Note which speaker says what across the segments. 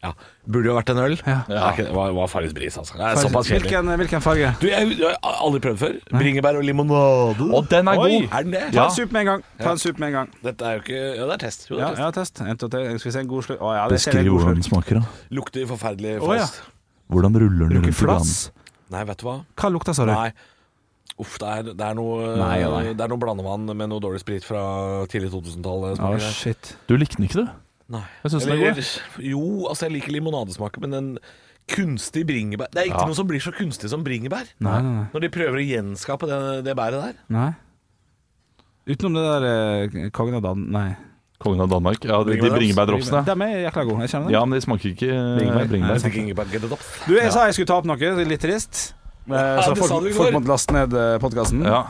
Speaker 1: Ja. Burde jo vært en øl.
Speaker 2: Ja.
Speaker 1: Det er ikke- det var, var Farris bris, altså. Det er såpass kjedelig.
Speaker 2: Hvilken, hvilken farge?
Speaker 1: Du, jeg, jeg har aldri prøvd før. Bringebær og limonade.
Speaker 3: Og den er
Speaker 2: Oi.
Speaker 3: god!
Speaker 1: er den det?
Speaker 2: Ta
Speaker 3: Ja.
Speaker 2: en sup med en gang. Ta en sup med en gang.
Speaker 1: Dette er jo ikke Ja, det er test. Jo, det
Speaker 2: Ja,
Speaker 1: er test.
Speaker 2: ja test. En, to, tre. Skal vi se en god slurk? Å ja, det ser en god slurk.
Speaker 3: smaker, da.
Speaker 1: Lukter forferdelig
Speaker 2: Å, ja.
Speaker 1: fast.
Speaker 3: Hvordan ruller den
Speaker 2: Bruker flass.
Speaker 1: Nei, vet du hva?
Speaker 2: Hva lukter, sa du?
Speaker 1: Nei. Uff, det er, det er noe eh,
Speaker 2: Nei, ja, nei.
Speaker 1: Det er noe blandevann med noe dårlig sprit fra tidlig 2000-tall.
Speaker 2: Å,
Speaker 1: smaker det.
Speaker 2: shit.
Speaker 3: Du likte den ikke, du?
Speaker 1: Nei.
Speaker 3: Jeg synes den er
Speaker 1: Jo, altså, jeg liker limonadesmaken, men den kunstig bringebær Det er ikke
Speaker 3: Ja.
Speaker 1: noe som blir så kunstig som bringebær.
Speaker 2: Nei, nei, nei.
Speaker 1: Når de prøver å gjenskape det, det bæret der.
Speaker 2: Nei. Utenom det der eh, kongen av Dan... Nei.
Speaker 3: Kongen av Danmark? Ja, de, de
Speaker 1: Bringebærdrops.
Speaker 3: bringebærdropsene.
Speaker 2: Dem er jækla gode. Jeg kjenner dem.
Speaker 3: Ja, men de smaker ikke eh,
Speaker 2: Bringebær. Nei,
Speaker 3: bringebær.
Speaker 2: sant.
Speaker 1: Bringebær, get it up.
Speaker 2: Du, jeg sa jeg skulle ta opp noe. Det er litt trist. Eh, så
Speaker 1: det
Speaker 2: folk,
Speaker 1: sa du i går.
Speaker 2: folk måtte laste ned podkasten.
Speaker 3: Ja.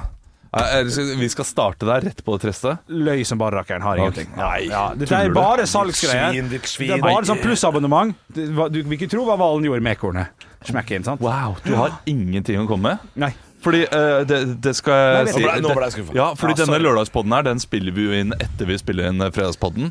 Speaker 3: Eh, eh, skal- Vi skal starte der, rett på trestet.
Speaker 2: Løy som bare rakkeren. Har ingenting.
Speaker 3: Nei,
Speaker 2: Ja, det er
Speaker 3: tuller du?
Speaker 2: bare salgsgreier.
Speaker 1: Svin, ditt svin.
Speaker 2: Det er bare sånn plussabonnement. Du, hva- du vil ikke tro hva hvalen gjorde med ekornet. Smekk inn, sant?
Speaker 3: Wow, du har ingenting å komme med?
Speaker 2: Nei.
Speaker 3: Fordi eh, det, det skal
Speaker 2: Nei,
Speaker 3: jeg
Speaker 2: vet
Speaker 3: si
Speaker 1: Nå ble- nå ble jeg
Speaker 3: det-
Speaker 1: skuffet.
Speaker 3: Ja, fordi
Speaker 1: Ja,
Speaker 3: denne
Speaker 1: sorry.
Speaker 3: lørdagspodden her, den spiller vi jo inn etter vi spiller inn eh, fredagspodden.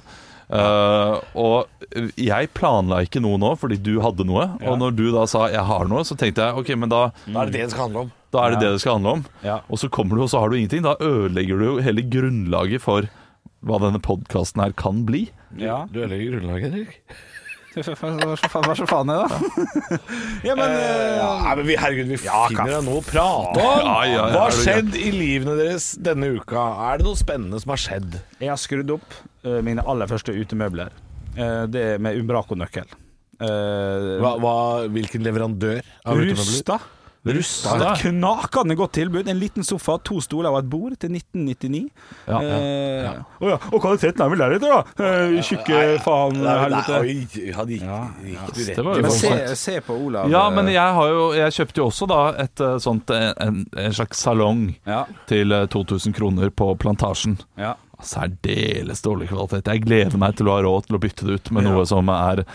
Speaker 3: Eh, og jeg planla ikke noe nå, fordi du hadde noe. Og når du da sa 'jeg har noe', så tenkte jeg ok, men da,
Speaker 1: Hva er det det det skal handle om?
Speaker 3: da er det det det skal handle om.
Speaker 2: Ja.
Speaker 3: Og så kommer du, og så har du ingenting. Da ødelegger du jo hele grunnlaget for hva denne podkasten her kan bli.
Speaker 2: Ja.
Speaker 1: Du ødelegger grunnlaget, Erik.
Speaker 2: Hva så faen- hva så faen er det, da? Ja, men eh,
Speaker 1: Nei, men vi, herregud, vi finner da noe å prate om!
Speaker 3: Ja, ja, ja,
Speaker 1: Hva har
Speaker 3: er du
Speaker 1: skjedd i livene deres denne uka? Er det noe spennende som har skjedd?
Speaker 2: Jeg har skrudd opp eh, mine aller første utemøbler. Eh, det er med Umbraco-nøkkel. Eh,
Speaker 1: Hva, hva, hvilken leverandør av utemøbler?
Speaker 2: Rusta. Rusta. Det er et knakende godt tilbud. En liten sofa, to stoler og et bord til 1999.
Speaker 3: Ja,
Speaker 2: Eh, å ja, Og kvaliteten er vel deretter, da? Eh, Tjukke faen
Speaker 1: Nei, nei,
Speaker 2: helvete.
Speaker 1: oi, han gikk, gikk du rett
Speaker 3: Det var jo
Speaker 2: Men
Speaker 3: voldsomt.
Speaker 2: se, se på Olav.
Speaker 3: Ja, men
Speaker 2: eh,
Speaker 3: jeg, har jo, jeg kjøpte jo også da et eh, sånt eh, En, en slags salong
Speaker 2: ja,
Speaker 3: til eh, 2000 kroner på Plantasjen.
Speaker 2: ja.
Speaker 3: Særdeles dårlig kvalitet. Jeg gleder meg til å ha råd til å bytte det ut med noe som er,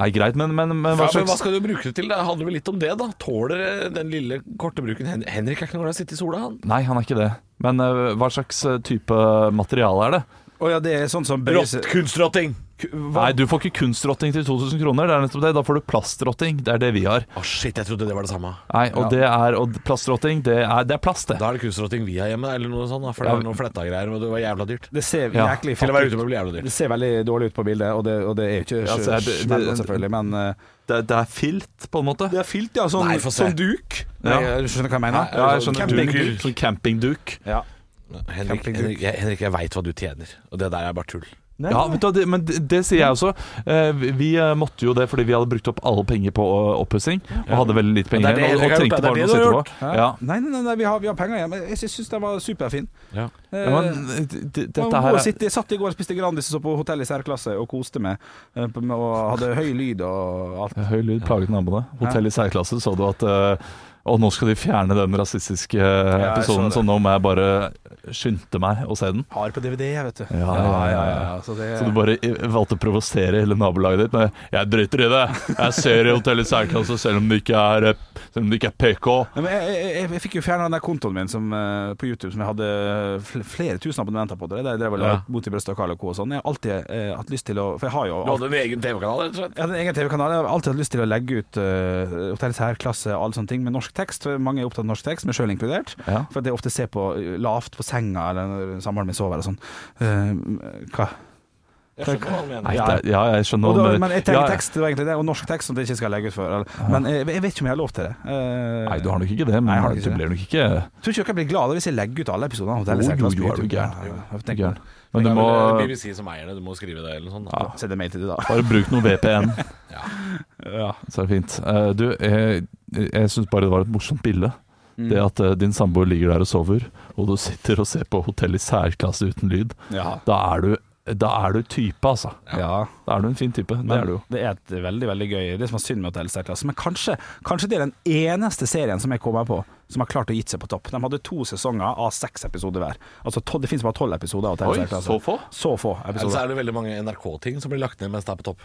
Speaker 3: er greit. Men, men, men
Speaker 1: Ja,
Speaker 3: hva
Speaker 1: men hva
Speaker 3: slags
Speaker 1: skal du bruke det til? Det handler vel litt om det, da. Tåler eh, den lille korte bruken Hen- Henrik er ikke noe glad i å sitte i sola, han.
Speaker 3: Nei, han er ikke det. Men eh, hva slags eh, type materiale er det?
Speaker 2: Å ja, det er sånn som bøyse-
Speaker 1: kunstrotting!
Speaker 3: Nei, du får ikke kunstrotting til 2000 kroner. Det er nettopp det. Da får du plastrotting. Det er det vi har.
Speaker 1: Å, shit, jeg trodde det var det samme.
Speaker 3: Nei, og det er og plastrotting. Det er, det er plast, det.
Speaker 1: Da er det kunstrotting vi har hjemme, eller noe sånt. Da, for det
Speaker 3: Ja.
Speaker 1: er noen fletta greier, og det var jævla dyrt.
Speaker 2: Det ser
Speaker 3: Ja.
Speaker 2: jæklig
Speaker 1: Eller være
Speaker 2: fattig
Speaker 1: ute
Speaker 2: ut.
Speaker 1: med blir jævla dyrt.
Speaker 2: Det ser veldig dårlig ut på bildet, og det, og det er jo ikke
Speaker 3: Ja,
Speaker 2: ja,
Speaker 3: så er det- det-
Speaker 2: selvfølgelig, men eh,
Speaker 3: Det, det er filt, på en måte.
Speaker 2: Det er filt, ja. Sånn,
Speaker 1: Nei, få se.
Speaker 2: sånn duk.
Speaker 3: Ja.
Speaker 2: Nei, jeg skjønner hva jeg mener.
Speaker 3: Ja, jeg skjønner.
Speaker 2: Camping-
Speaker 3: Duk, sånn campingduk.
Speaker 2: Ja.
Speaker 1: Henrik,
Speaker 2: Campingduk.
Speaker 1: Henrik, jeg, Henrik, jeg veit hva du tjener, og det der er bare tull.
Speaker 3: Ja, vet du, hva, det, men det, det sier jeg også. Eh, vi- vi eh, måtte jo det fordi vi hadde brukt opp alle penger på eh, oppussing. Og hadde veldig lite penger
Speaker 1: Ja, det er det
Speaker 3: igjen. Og, og
Speaker 1: Henrik har
Speaker 3: trengte
Speaker 1: gjort,
Speaker 3: bare
Speaker 1: det er
Speaker 3: noe å
Speaker 1: det
Speaker 3: sitte
Speaker 1: du
Speaker 3: på.
Speaker 1: har
Speaker 2: Hæ?
Speaker 3: Ja.
Speaker 2: Nei, nei, nei, nei, vi har, vi har penger igjen. Men jeg sy- syns den var superfin.
Speaker 1: Ja.
Speaker 2: Eh,
Speaker 3: Ja, men d- d-
Speaker 2: man
Speaker 3: dette
Speaker 2: må
Speaker 3: her er
Speaker 2: sitte, jeg satt i går og spiste Grandis og så på hotell i særklasse og koste meg. eh, på- med- Og hadde høy lyd og alt.
Speaker 3: Høy lyd plaget naboene. Hotell i særklasse så du at eh, Å, nå skal de fjerne den rasistiske eh,
Speaker 2: jeg
Speaker 3: episoden,
Speaker 2: så
Speaker 3: så nå må jeg bare skynde meg å se den.
Speaker 2: Har på DVD, vet du.
Speaker 3: Ja, ja, ja, ja.
Speaker 2: Så det,
Speaker 3: Så du bare i- valgte å provosere hele nabolaget ditt med 'jeg driter i det', jeg ser i Hotell i særklasse selv om det ikke er, eh, selv om det ikke er PK'.
Speaker 2: Nei, men jeg, jeg, jeg, jeg fikk jo fjerna den der kontoen min som, eh, på YouTube som jeg hadde eh, fl flere tusen abonnementer på. Det der jeg drev og la
Speaker 1: Ja.
Speaker 2: ut mot i brøst og Carl og Co. og sånn. Jeg har alltid eh, hatt lyst til å For jeg har jo
Speaker 1: Du hadde en egen TV-kanal, rett og slett?
Speaker 2: Jeg hadde en egen TV-kanal. Jeg har alltid hatt lyst til å legge ut uh, Hotell særklasse og alle sånne ting med norsk tekst. For mange er opptatt av norsk tekst, meg sjøl inkludert.
Speaker 3: Ja.
Speaker 2: For at jeg ofte ser på eh, lavt på senga eller når samboeren min sover og sånn. Eh, hva?
Speaker 1: Jeg skjønner hva han mener.
Speaker 3: Nei,
Speaker 2: Ja.
Speaker 3: det, ja, jeg skjønner
Speaker 2: Og da,
Speaker 3: hva du mener.
Speaker 2: men jeg trenger
Speaker 3: Ja, ja.
Speaker 2: tekst, det var egentlig det. Og norsk tekst som jeg ikke skal legge ut for. Eller. Men jeg, jeg vet ikke om jeg har lov til det. Eh,
Speaker 3: Nei, du har nok ikke det, men
Speaker 2: Nei, jeg har nok
Speaker 3: du
Speaker 2: ikke det.
Speaker 3: blir nok ikke
Speaker 2: Tror ikke dere blir glade hvis jeg legger ut alle episodene av Hotell
Speaker 3: Jo,
Speaker 2: særklasse
Speaker 3: jo,
Speaker 2: på
Speaker 3: jo, er du
Speaker 2: YouTube?
Speaker 3: gæren.
Speaker 2: Ja, ja, jeg tenker
Speaker 3: gæren.
Speaker 2: på det.
Speaker 3: Men du
Speaker 1: Det er
Speaker 3: må
Speaker 1: vel, eh, BBC som eier det, du må skrive det eller noe sånt. da.
Speaker 2: Send en mail til de, da.
Speaker 3: bare bruke noe VPN,
Speaker 2: Ja.
Speaker 3: så er det fint. Eh, Du, jeg, jeg syns bare det var et morsomt bilde.
Speaker 2: Mm.
Speaker 3: Det at eh, din samboer ligger der og sover, og du sitter og ser på hotell i særklasse uten lyd.
Speaker 2: Ja.
Speaker 3: Da er du, da er du type, altså.
Speaker 2: ja.
Speaker 3: Da er du en fin type. Det
Speaker 2: Men
Speaker 3: er du jo.
Speaker 2: Det er et veldig veldig gøy Det som er synd med Hotell Særklasse. Men kanskje, kanskje det er den eneste serien som jeg kommer på som har klart å gitt seg på topp. De hadde to sesonger av seks episoder hver. Altså to, Det finnes bare tolv episoder av Hotell
Speaker 3: Oi,
Speaker 2: Særklasse.
Speaker 3: så få?
Speaker 2: altså. Så få
Speaker 1: Eller så
Speaker 2: episoder.
Speaker 1: er det veldig mange NRK-ting som blir lagt ned mens det er på topp.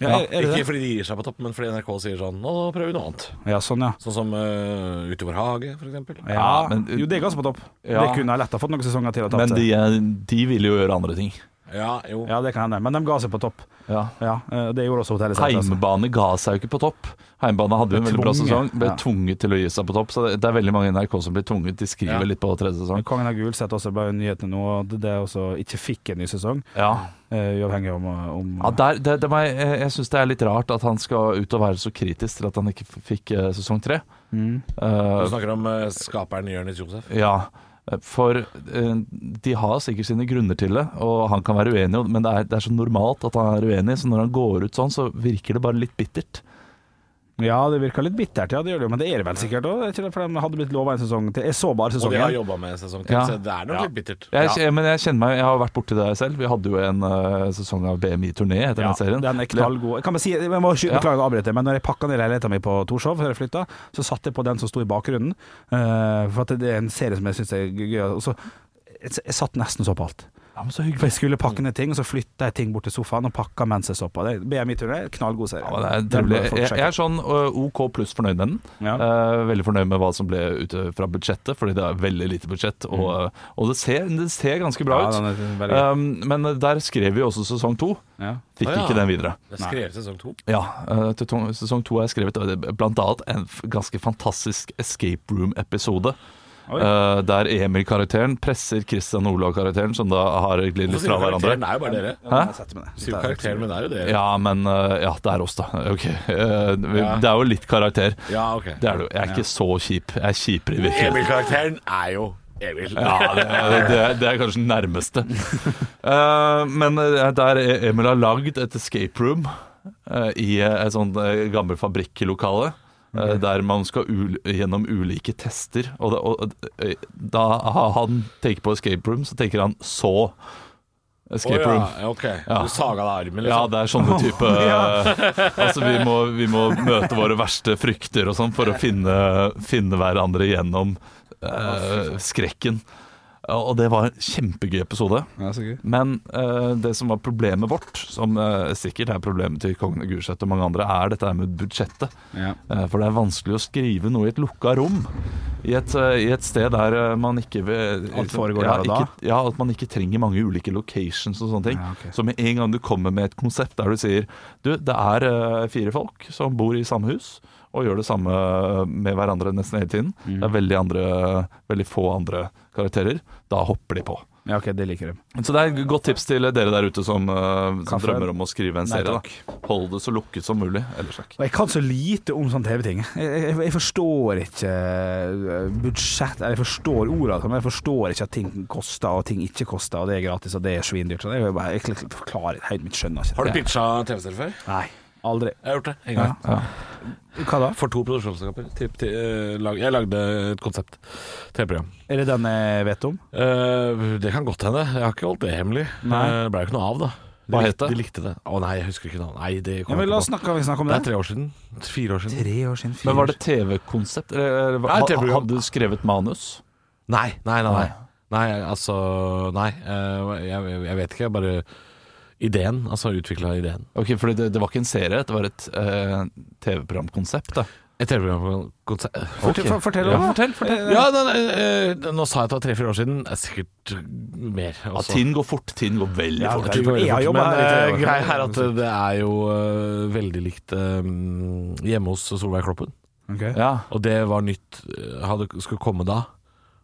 Speaker 2: Ja, er, er det
Speaker 1: Ikke
Speaker 2: det?
Speaker 1: fordi de gir seg på topp, men fordi NRK sier sånn Nå prøver vi noe annet.
Speaker 2: Ja, sånn, ja.
Speaker 1: Sånn som eh, Ute i vår hage, for eksempel.
Speaker 2: ja,
Speaker 3: Ja, men-
Speaker 2: jo, det er ganske på topp.
Speaker 3: Ja.
Speaker 2: Det kunne jeg lett ha fått noen sesonger til å ta
Speaker 3: Men
Speaker 2: til.
Speaker 3: de, eh, de vil jo gjøre andre ting.
Speaker 1: Ja, jo.
Speaker 2: Ja, det kan hende. Men de ga seg på topp.
Speaker 3: Ja.
Speaker 2: Ja, eh, det gjorde også altså. hotellet. Seltzer.
Speaker 3: Heimebane ga seg jo ikke på topp. Heimebane hadde jo en
Speaker 2: Ble
Speaker 3: veldig bra
Speaker 2: tvunget,
Speaker 3: sesong, ble
Speaker 2: ja.
Speaker 3: tvunget til å gi seg på topp. Så det, det er veldig mange i NRK som blir tvunget. De skriver
Speaker 1: Ja.
Speaker 3: litt på tredje sesong.
Speaker 2: Kongen av Gul setter også bare nyhetene nå, og det er også ikke fikk en ny sesong.
Speaker 3: Ja,
Speaker 2: eh, Uavhengig om, om
Speaker 3: ja der, det, det, må jeg- Jeg syns det er litt rart at han skal ut og være så kritisk til at han ikke f- fikk eh, sesong tre.
Speaker 2: Mm.
Speaker 1: Du
Speaker 3: Eh,
Speaker 1: snakker om eh, skaperen Jonis Josef.
Speaker 3: Ja, for eh, de har sikkert sine grunner til det, og han kan være uenig, men det er, det er så normalt at han er uenig, så når han går ut sånn, så virker det bare litt bittert.
Speaker 2: Ja, det virka litt bittert, ja, det gjør det jo, men det er det vel sikkert òg? For de hadde blitt lova en sesong til. Jeg så
Speaker 1: Og
Speaker 2: bare
Speaker 1: de har
Speaker 2: sesongen.
Speaker 1: jobba med sesong til,
Speaker 3: Ja.
Speaker 1: så det er nok litt bittert.
Speaker 3: Jeg,
Speaker 1: Ja.
Speaker 3: Men jeg kjenner meg, jeg har vært borti det selv. Vi hadde jo en eh, sesong av BMI-turné etter
Speaker 2: Ja,
Speaker 3: den serien.
Speaker 2: den er knallgod. Jeg kan bare si, jeg må ikke
Speaker 3: Ja.
Speaker 2: beklage å avbryte, men når jeg pakka ned leiligheten min på Torshov før jeg flytta, så satt jeg på den som sto i bakgrunnen. eh, for at det er en serie som jeg syns er gøy. Og så, jeg, jeg satt nesten så på alt.
Speaker 3: Ja, men så
Speaker 2: For
Speaker 3: hyggelig.
Speaker 2: jeg skulle pakke ned ting, og så flytta jeg ting bort til sofaen og pakka mens jeg så på. Det er BMI-turné, knallgod serie.
Speaker 3: Ja, men det er
Speaker 2: Den bør
Speaker 3: trivelig.
Speaker 2: folk
Speaker 3: Jeg,
Speaker 2: sjekke.
Speaker 3: jeg er sånn eh, OK pluss fornøyd med den.
Speaker 2: Ja.
Speaker 3: Eh, veldig fornøyd med hva som ble ute fra budsjettet, fordi det er veldig lite budsjett. Og, og det, ser, det ser ganske bra
Speaker 2: Mm. Ja,
Speaker 3: ut.
Speaker 2: den er veldig gøy.
Speaker 3: Um, men der skrev vi også sesong to.
Speaker 2: Ja.
Speaker 3: Fikk
Speaker 1: Å, ja.
Speaker 3: ikke den videre.
Speaker 1: Det er skrevet sesong to.
Speaker 3: Ja, eh, til to- sesong to har jeg skrevet eh, blant annet en f- ganske fantastisk escape room-episode.
Speaker 2: Oi.
Speaker 3: eh, der Emil-karakteren presser Christian Olav-karakteren, som da har glidd litt
Speaker 1: Hvorfor
Speaker 3: fra
Speaker 1: sier du karakteren?
Speaker 3: hverandre.
Speaker 1: Det er jo bare dere.
Speaker 2: Ja, jeg setter meg ned.
Speaker 1: Du Sier jo karakteren, men det er jo dere.
Speaker 3: Ja, men eh, Ja, det er oss, da. Ok. eh, vi-
Speaker 1: Ja.
Speaker 3: Det er jo litt karakter.
Speaker 1: Ja, ok.
Speaker 3: Det er det jo. Jeg er ikke så kjip. Jeg er kjipere i virkeligheten.
Speaker 1: Emil-karakteren er jo Emil.
Speaker 3: Ja, det, det, er- det er kanskje den nærmeste. Eh, men eh, der Emil har lagd et escape room eh, i eh, et sånt eh, gammelt fabrikklokale. eh, Der man skal ul gjennom ulike tester. Og da, og, eh, da har han tenker på escape room, så tenker han så escape room.
Speaker 1: Å, ja. Ok, du saga deg armen,
Speaker 3: Ja,
Speaker 1: liksom.
Speaker 3: det er sånne type Altså, vi må, vi må møte våre verste frykter og sånn for å finne, finne hverandre gjennom eh, skrekken. Og det var en kjempegøy episode.
Speaker 2: Ja, så gøy.
Speaker 3: Men eh, det som var problemet vårt, som eh, sikkert er problemet til Kongen av Gulset og mange andre, er dette her med budsjettet.
Speaker 2: Ja.
Speaker 3: Eh, For det er vanskelig å skrive noe i et lukka rom. I et, eh, i et sted der eh, man ikke vil,
Speaker 2: Alt foregår
Speaker 3: ja,
Speaker 2: der og da?
Speaker 3: Ikke, ja, at man ikke trenger mange ulike locations og sånne ting.
Speaker 2: Ja, ok.
Speaker 3: Så med en gang du kommer med et konsept der du sier Du, det er eh, fire folk som bor i samme hus og gjør det samme eh, med hverandre nesten hele tiden.
Speaker 2: Mm.
Speaker 3: Det er veldig, andre, veldig få andre karakterer. Da hopper de på.
Speaker 2: ja, OK, det liker de.
Speaker 3: Så det er et godt tips til dere der ute som, eh, som
Speaker 2: Kaffe?
Speaker 3: drømmer om å skrive en
Speaker 2: Nei,
Speaker 3: serie.
Speaker 2: takk.
Speaker 3: Da. Hold det så lukket som mulig. Ellers takk.
Speaker 2: Og jeg kan så lite om sånne TV-ting. Jeg, jeg, jeg forstår ikke eh, budsjett eller Jeg forstår ordene, men jeg forstår ikke at ting koster og ting ikke koster, og det er gratis og det er svindyrt. Så det er jo bare, jeg, jeg, jeg forklarer helt mitt skjønner ikke.
Speaker 1: Har du pitcha TV-serier før?
Speaker 2: Nei, aldri.
Speaker 1: Jeg har gjort det. En gang.
Speaker 2: Hva da?
Speaker 1: For to produksjonsselskaper. Til- til, eh, lag- Jeg lagde et konsept. TV-program.
Speaker 2: Er det den jeg vet om?
Speaker 1: Eh, det kan godt hende. Jeg har ikke holdt det hemmelig.
Speaker 2: Nei.
Speaker 1: Eh, det ble jo ikke noe av, da. De
Speaker 3: Hva
Speaker 1: lik-
Speaker 3: het det?
Speaker 1: De likte det. Å nei, jeg husker ikke navnet. Nei, det
Speaker 2: Ja,
Speaker 1: kommer
Speaker 2: men
Speaker 1: jeg
Speaker 2: la
Speaker 1: ikke
Speaker 2: oss
Speaker 1: på.
Speaker 2: snakke, vi snakker om
Speaker 1: Det
Speaker 2: det.
Speaker 1: er tre år siden. Fire år siden.
Speaker 2: Tre år siden, fire
Speaker 3: Men var
Speaker 2: år
Speaker 3: det TV-konsept? Eller, eller,
Speaker 1: Nei,
Speaker 3: ha-
Speaker 1: TV-program.
Speaker 3: hadde du skrevet manus?
Speaker 1: Nei, nei, nei. nei. Nei, altså Nei. eh, jeg, jeg vet ikke. Jeg bare Ideen. Altså utvikla ideen.
Speaker 3: Ok, fordi det, det var ikke en serie, det var et eh, TV-programkonsept. da
Speaker 1: Et TV-program på konsert eh,
Speaker 2: siden. Fortell, for- fortell om
Speaker 3: Ja,
Speaker 2: det.
Speaker 3: fortell, fortell.
Speaker 1: Ja, nei, nei, eh, nå sa jeg at det var tre-fire år siden. Det er Sikkert eh, mer.
Speaker 3: Ja,
Speaker 1: også.
Speaker 3: tiden går fort. Tiden går veldig
Speaker 2: Ja,
Speaker 3: fort.
Speaker 2: det- Jeg har jobbet
Speaker 1: men
Speaker 2: her i tre år.
Speaker 1: eh, greia er at det er jo eh, veldig likt eh, hjemme hos Solveig Kloppen.
Speaker 2: eh, Ok.
Speaker 3: Ja.
Speaker 1: Og det var nytt eh, hadde, Skulle komme da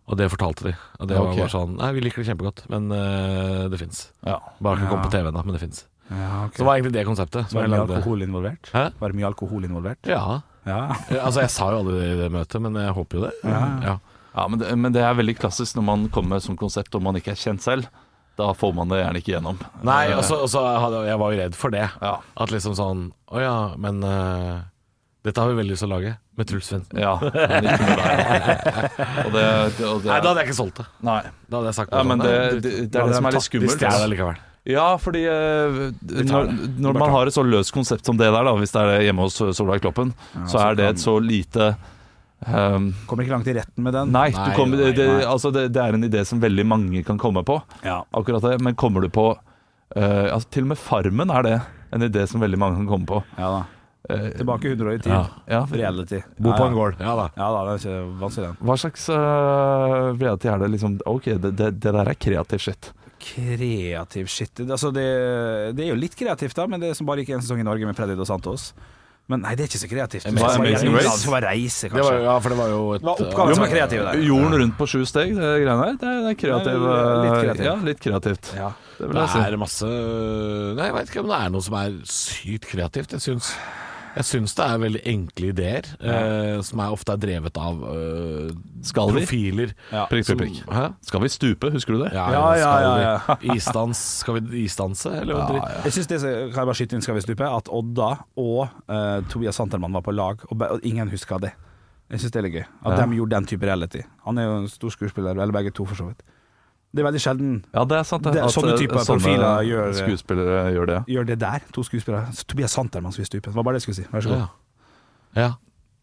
Speaker 1: Og det fortalte de Og det
Speaker 3: Ja,
Speaker 1: var
Speaker 3: ok.
Speaker 1: bare sånn Nei, vi liker det kjempegodt Men eh, det finnes
Speaker 3: Ja.
Speaker 1: Bare ikke
Speaker 2: Ja.
Speaker 1: komme på TV da Men det finnes
Speaker 2: Ja, ok.
Speaker 1: Så det var egentlig det konseptet som
Speaker 2: Var
Speaker 1: jeg
Speaker 2: det mye
Speaker 1: lagde
Speaker 2: alkohol involvert?
Speaker 1: Hæ?
Speaker 2: Var det mye alkohol involvert?
Speaker 1: Ja
Speaker 2: Ja.
Speaker 1: Eh, Altså jeg sa jo aldri det i det møtet Men jeg håper jo det Ja,
Speaker 3: Ja, men, det, men det er veldig klassisk når man kommer med som konsept og man ikke er kjent selv. Da får man det gjerne ikke gjennom.
Speaker 1: Nei, altså-
Speaker 3: Eh,
Speaker 1: og så og så hadde jeg var jo redd for det
Speaker 3: Ja.
Speaker 1: At liksom sånn Åja, men eh, Dette har vi veldig lyst til å lage Med Truls Svendsen
Speaker 3: ja, men ikke med deg. Og det, det, og det
Speaker 1: Nei, da hadde jeg ikke solgt det
Speaker 3: Nei.
Speaker 1: Da hadde jeg sagt
Speaker 3: Ja, men det,
Speaker 1: nei,
Speaker 3: det,
Speaker 1: du-
Speaker 3: det er det som er
Speaker 1: De
Speaker 3: litt
Speaker 1: stjeler det
Speaker 3: skummelt.
Speaker 1: likevel
Speaker 3: Ja, fordi eh, når, når man har et så løst konsept som det der, da, hvis det er det hjemme hos Solveig Kloppen, så
Speaker 2: så
Speaker 3: er det
Speaker 2: kan-
Speaker 3: et så lite eh,
Speaker 2: Kommer ikke langt i retten med den.
Speaker 3: Nei, du
Speaker 1: Nei,
Speaker 3: kommer,
Speaker 1: nei,
Speaker 3: det,
Speaker 2: nei.
Speaker 3: altså det, det er en idé som veldig mange kan komme på.
Speaker 2: Ja.
Speaker 3: Akkurat det, Men kommer du på eh, altså Til og med Farmen er det en idé som veldig mange kan komme på.
Speaker 2: ja da.
Speaker 3: Eh,
Speaker 2: Tilbake 100 år i tid.
Speaker 3: ja, ja.
Speaker 2: Reality.
Speaker 1: Bo
Speaker 2: Ja,
Speaker 1: på
Speaker 2: ja.
Speaker 1: en gård Ja da
Speaker 2: Ja da, det er ikke vanskelig den.
Speaker 3: eh, Hva slags uh, reality er det? Liksom, ok, det, det, det der er kreativ shit.
Speaker 2: kreativ shit. Det- Altså, det, det er jo litt kreativt, da, men det er som bare gikk en sesong i Norge med Freddy Dos Santos. Men nei, det er ikke så kreativt.
Speaker 1: Amazing
Speaker 2: Det
Speaker 3: Race?
Speaker 2: var- det var reise,
Speaker 1: Det var,
Speaker 2: kanskje.
Speaker 1: ja, for det var jo et eh,
Speaker 2: Det var oppgaven som var kreativ der.
Speaker 3: Jorden rundt på sju steg, det greiene her. Det er, det er kreativ, eh,
Speaker 2: Nei, litt kreativ.
Speaker 3: Ja, litt kreativt.
Speaker 2: Ja.
Speaker 3: Det vil
Speaker 1: Det
Speaker 3: jeg si.
Speaker 1: er masse øh, Nei, jeg veit ikke om det er noe som er sykt kreativt. Jeg syns, jeg syns det er veldig enkle ideer, eh, som er ofte er drevet av eh,
Speaker 3: Skal vi?
Speaker 1: profiler.
Speaker 2: Ja.
Speaker 3: Prikk,
Speaker 1: Som-
Speaker 3: prikk, prikk.
Speaker 1: Hæ?
Speaker 3: Skal vi stupe, husker du det?
Speaker 1: Ja,
Speaker 2: Ja, ja, ja,
Speaker 1: Skal vi isdans? Skal vi isdanse, eller hva dritt?
Speaker 2: Jeg synes det som- Kan jeg bare skyte inn Skal vi stupe? At Odda og eh, Tobias Santelmann var på lag, og, be- og ingen huska det. Jeg syns det er litt gøy. At de gjorde den type reality. Han er jo en stor skuespiller, eller begge to, for så vidt. Det er veldig sjelden
Speaker 3: Ja, det er sant.
Speaker 2: Det er
Speaker 3: at,
Speaker 2: sånne
Speaker 3: eh,
Speaker 2: typer profiler gjør-
Speaker 3: Skuespillere gjør det.
Speaker 2: gjør det der, to skuespillere. Tobias Santelmann som vil stupe. Det var bare det jeg skulle si. Vær så god.
Speaker 1: Ja. ja.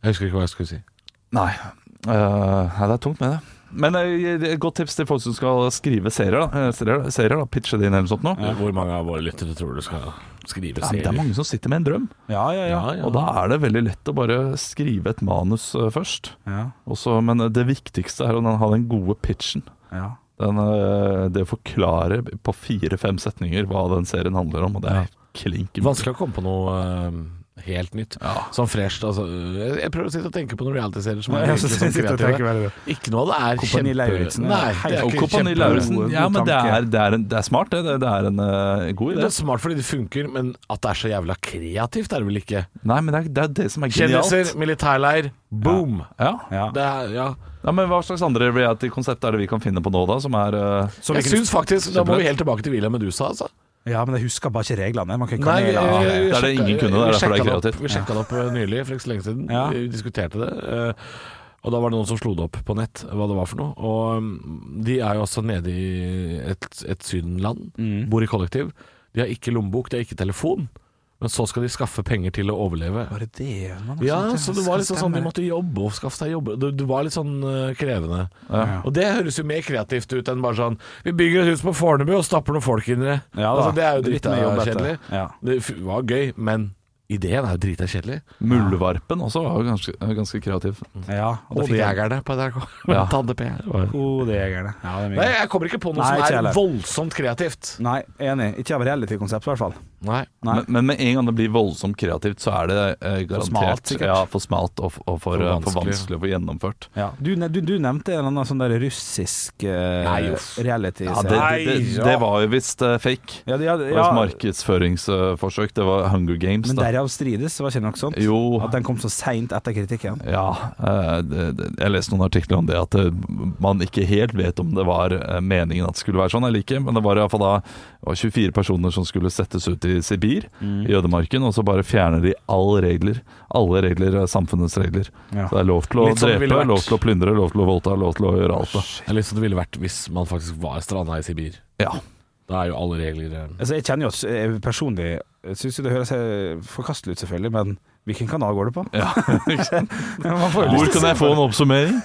Speaker 1: Jeg husker ikke hva jeg skulle si.
Speaker 3: Nei. Eh, nei, det er tungt med det. Men eh, et godt tips til folk som skal skrive serier, da. Eh, serier, serier da. pitche det inn eller noe sånt. Nå.
Speaker 1: Hvor mange av våre lyttere tror du skal skrive
Speaker 3: Ja, men det er mange som sitter med en drøm,
Speaker 2: Ja, ja, ja.
Speaker 1: Ja, ja.
Speaker 3: og da er det veldig lett å bare skrive et manus eh, først.
Speaker 2: ja,
Speaker 3: Også, men eh, det viktigste er å ha den gode pitchen.
Speaker 2: ja.
Speaker 3: Den, eh, det å forklare på fire-fem setninger hva den serien handler om, og det er klink umulig.
Speaker 1: Vanskelig å komme på noe eh, helt nytt. Sånn fresht. Altså, jeg, jeg prøver å sitte og tenke på noen realityserier som er sånn
Speaker 2: Jeg
Speaker 1: virker
Speaker 2: synes
Speaker 1: som
Speaker 2: jeg sitter og
Speaker 1: kreative.
Speaker 2: tenker veldig bra.
Speaker 1: Ikke noe av det er
Speaker 2: Kompani
Speaker 1: kjempe...
Speaker 2: Lauritsen er
Speaker 1: Nei, det er
Speaker 2: helt-
Speaker 3: Og
Speaker 1: ikke
Speaker 3: Kompani
Speaker 1: kjempe-
Speaker 3: Lauritzen.
Speaker 2: god
Speaker 3: Ja, men det
Speaker 2: tanke.
Speaker 3: er, det, er en, det er smart, det. Det- Det er en eh, god
Speaker 1: Det
Speaker 3: idé.
Speaker 1: er smart fordi det funker, men at det er så jævla kreativt er det vel ikke?
Speaker 3: Nei, men det er det, er det som er
Speaker 1: Kjendiser,
Speaker 3: genialt.
Speaker 1: militærleir, boom!
Speaker 3: Ja.
Speaker 2: Ja.
Speaker 1: Det er, ja.
Speaker 3: ja, men Hva slags andre reality-konsept er det vi kan finne på nå, da? Som er eh,
Speaker 2: Som
Speaker 1: Jeg
Speaker 2: vi kunne-
Speaker 1: syns faktisk Da må vi helt tilbake til William Medusa, altså.
Speaker 2: ja, men jeg husker bare ikke reglene. Man kan ikke ha
Speaker 1: Nei, vi- vi- vi
Speaker 2: regler.
Speaker 3: Det er det
Speaker 1: sjekka-
Speaker 3: ingen kunne, det er
Speaker 1: vi
Speaker 3: derfor det er
Speaker 1: sjekka den opp-
Speaker 3: kreativt.
Speaker 1: Vi sjekka det opp eh, nylig, for ikke så lenge siden.
Speaker 2: Ja.
Speaker 1: Vi diskuterte det. eh, Og da var det noen som slo det opp på nett, hva det var for noe. Og mm, de er jo også nede i et, et sydenland,
Speaker 2: Mm.
Speaker 1: bor i kollektiv. De har ikke lommebok, de har ikke telefon. Men så skal de skaffe penger til å overleve.
Speaker 2: Bare det man har
Speaker 1: Ja,
Speaker 2: sånt,
Speaker 1: så det var liksom sånn de
Speaker 2: stemmer.
Speaker 1: måtte jobbe og skaffe seg jobber. Det, det var litt sånn eh, krevende.
Speaker 2: Ja.
Speaker 1: Og det høres jo mer kreativt ut enn bare sånn Vi bygger et hus på Fornebu og stapper noen folk inn i det.
Speaker 2: Ja, da.
Speaker 1: altså, det er jo
Speaker 2: Litt
Speaker 1: drita
Speaker 2: mer jobb etter.
Speaker 1: kjedelig.
Speaker 2: Ja.
Speaker 1: Det f- var gøy, men ideen er jo drita kjedelig.
Speaker 3: Muldvarpen også var jo ganske, ganske kreativ.
Speaker 2: ja. Og da fikk jeg
Speaker 1: Hodejegerne på NRK.
Speaker 3: Ja.
Speaker 1: Tante P.
Speaker 2: Kodejegerne. Ja, det er mye
Speaker 1: Nei,
Speaker 2: gøy.
Speaker 1: jeg kommer ikke på noe
Speaker 2: Nei, ikke
Speaker 1: som
Speaker 2: heller.
Speaker 1: er voldsomt kreativt.
Speaker 2: Nei, enig. Ikke av reality-konsept, i hvert fall.
Speaker 1: Nei.
Speaker 2: Nei.
Speaker 3: Men, men med en gang det blir voldsomt kreativt, så er det eh, garantert
Speaker 2: smalt, sikkert.
Speaker 3: ja, for smalt og, og for, eh, for
Speaker 1: vanskelig.
Speaker 3: vanskelig å få gjennomført.
Speaker 2: Ja. Du, ne- du, du nevnte en annen sånn der russisk eh,
Speaker 1: Nei, uff.
Speaker 2: reality-serie.
Speaker 3: Ja, det, det, det, det var jo visst eh, fake.
Speaker 2: ja, de hadde-
Speaker 3: Det var et markedsføringsforsøk. Det var Hunger Games.
Speaker 2: Men
Speaker 3: da.
Speaker 2: derav strides, var ikke det nok sånt?
Speaker 3: Jo.
Speaker 2: At den kom så seint etter kritikken.
Speaker 3: Ja, eh, det, det, jeg leste noen artikler om det at eh, man ikke helt vet om det var eh, meningen at det skulle være sånn eller ikke, men det var i hvert fall da det var 24 personer som skulle settes ut i Sibir, i ødemarken, og så bare fjerner de alle regler. Alle regler er samfunnets regler.
Speaker 2: Ja.
Speaker 3: Så det er lov til å
Speaker 1: Litt sånn det ville
Speaker 3: drepe,
Speaker 1: vært.
Speaker 3: lov til å plyndre, lov til å voldta, lov til å gjøre alt. Da.
Speaker 1: Det er litt som det ville vært hvis man faktisk var stranda i Sibir.
Speaker 3: Ja.
Speaker 1: Da er jo alle regler eh,
Speaker 2: Altså, jeg kjenner jo at jeg personlig Jeg syns jo det høres eh, forkastelig ut, selvfølgelig, men hvilken kanal går det på?
Speaker 3: Ja.
Speaker 2: Man får jo lyst til
Speaker 3: Hvor
Speaker 2: å
Speaker 3: kan
Speaker 2: se
Speaker 3: jeg få en oppsummering?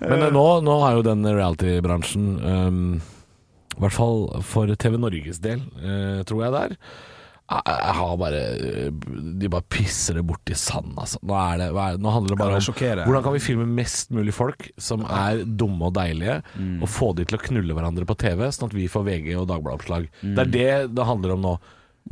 Speaker 1: Men eh, nå, nå har jo den reality-bransjen ehm, I hvert fall for TV Norges del, eh, tror jeg det er. Jeg jeg har bare eh, De bare pisser det bort i sand, altså. Nå, er det, hva er det- nå handler det
Speaker 2: Ja,
Speaker 1: bare
Speaker 2: det
Speaker 1: om
Speaker 2: sjokkerer.
Speaker 1: hvordan kan vi filme mest mulig folk som er dumme og deilige,
Speaker 3: Mm.
Speaker 1: og få de til å knulle hverandre på TV, sånn at vi får VG og Dagbladet-oppslag. Det er det det handler om nå.
Speaker 3: Mm.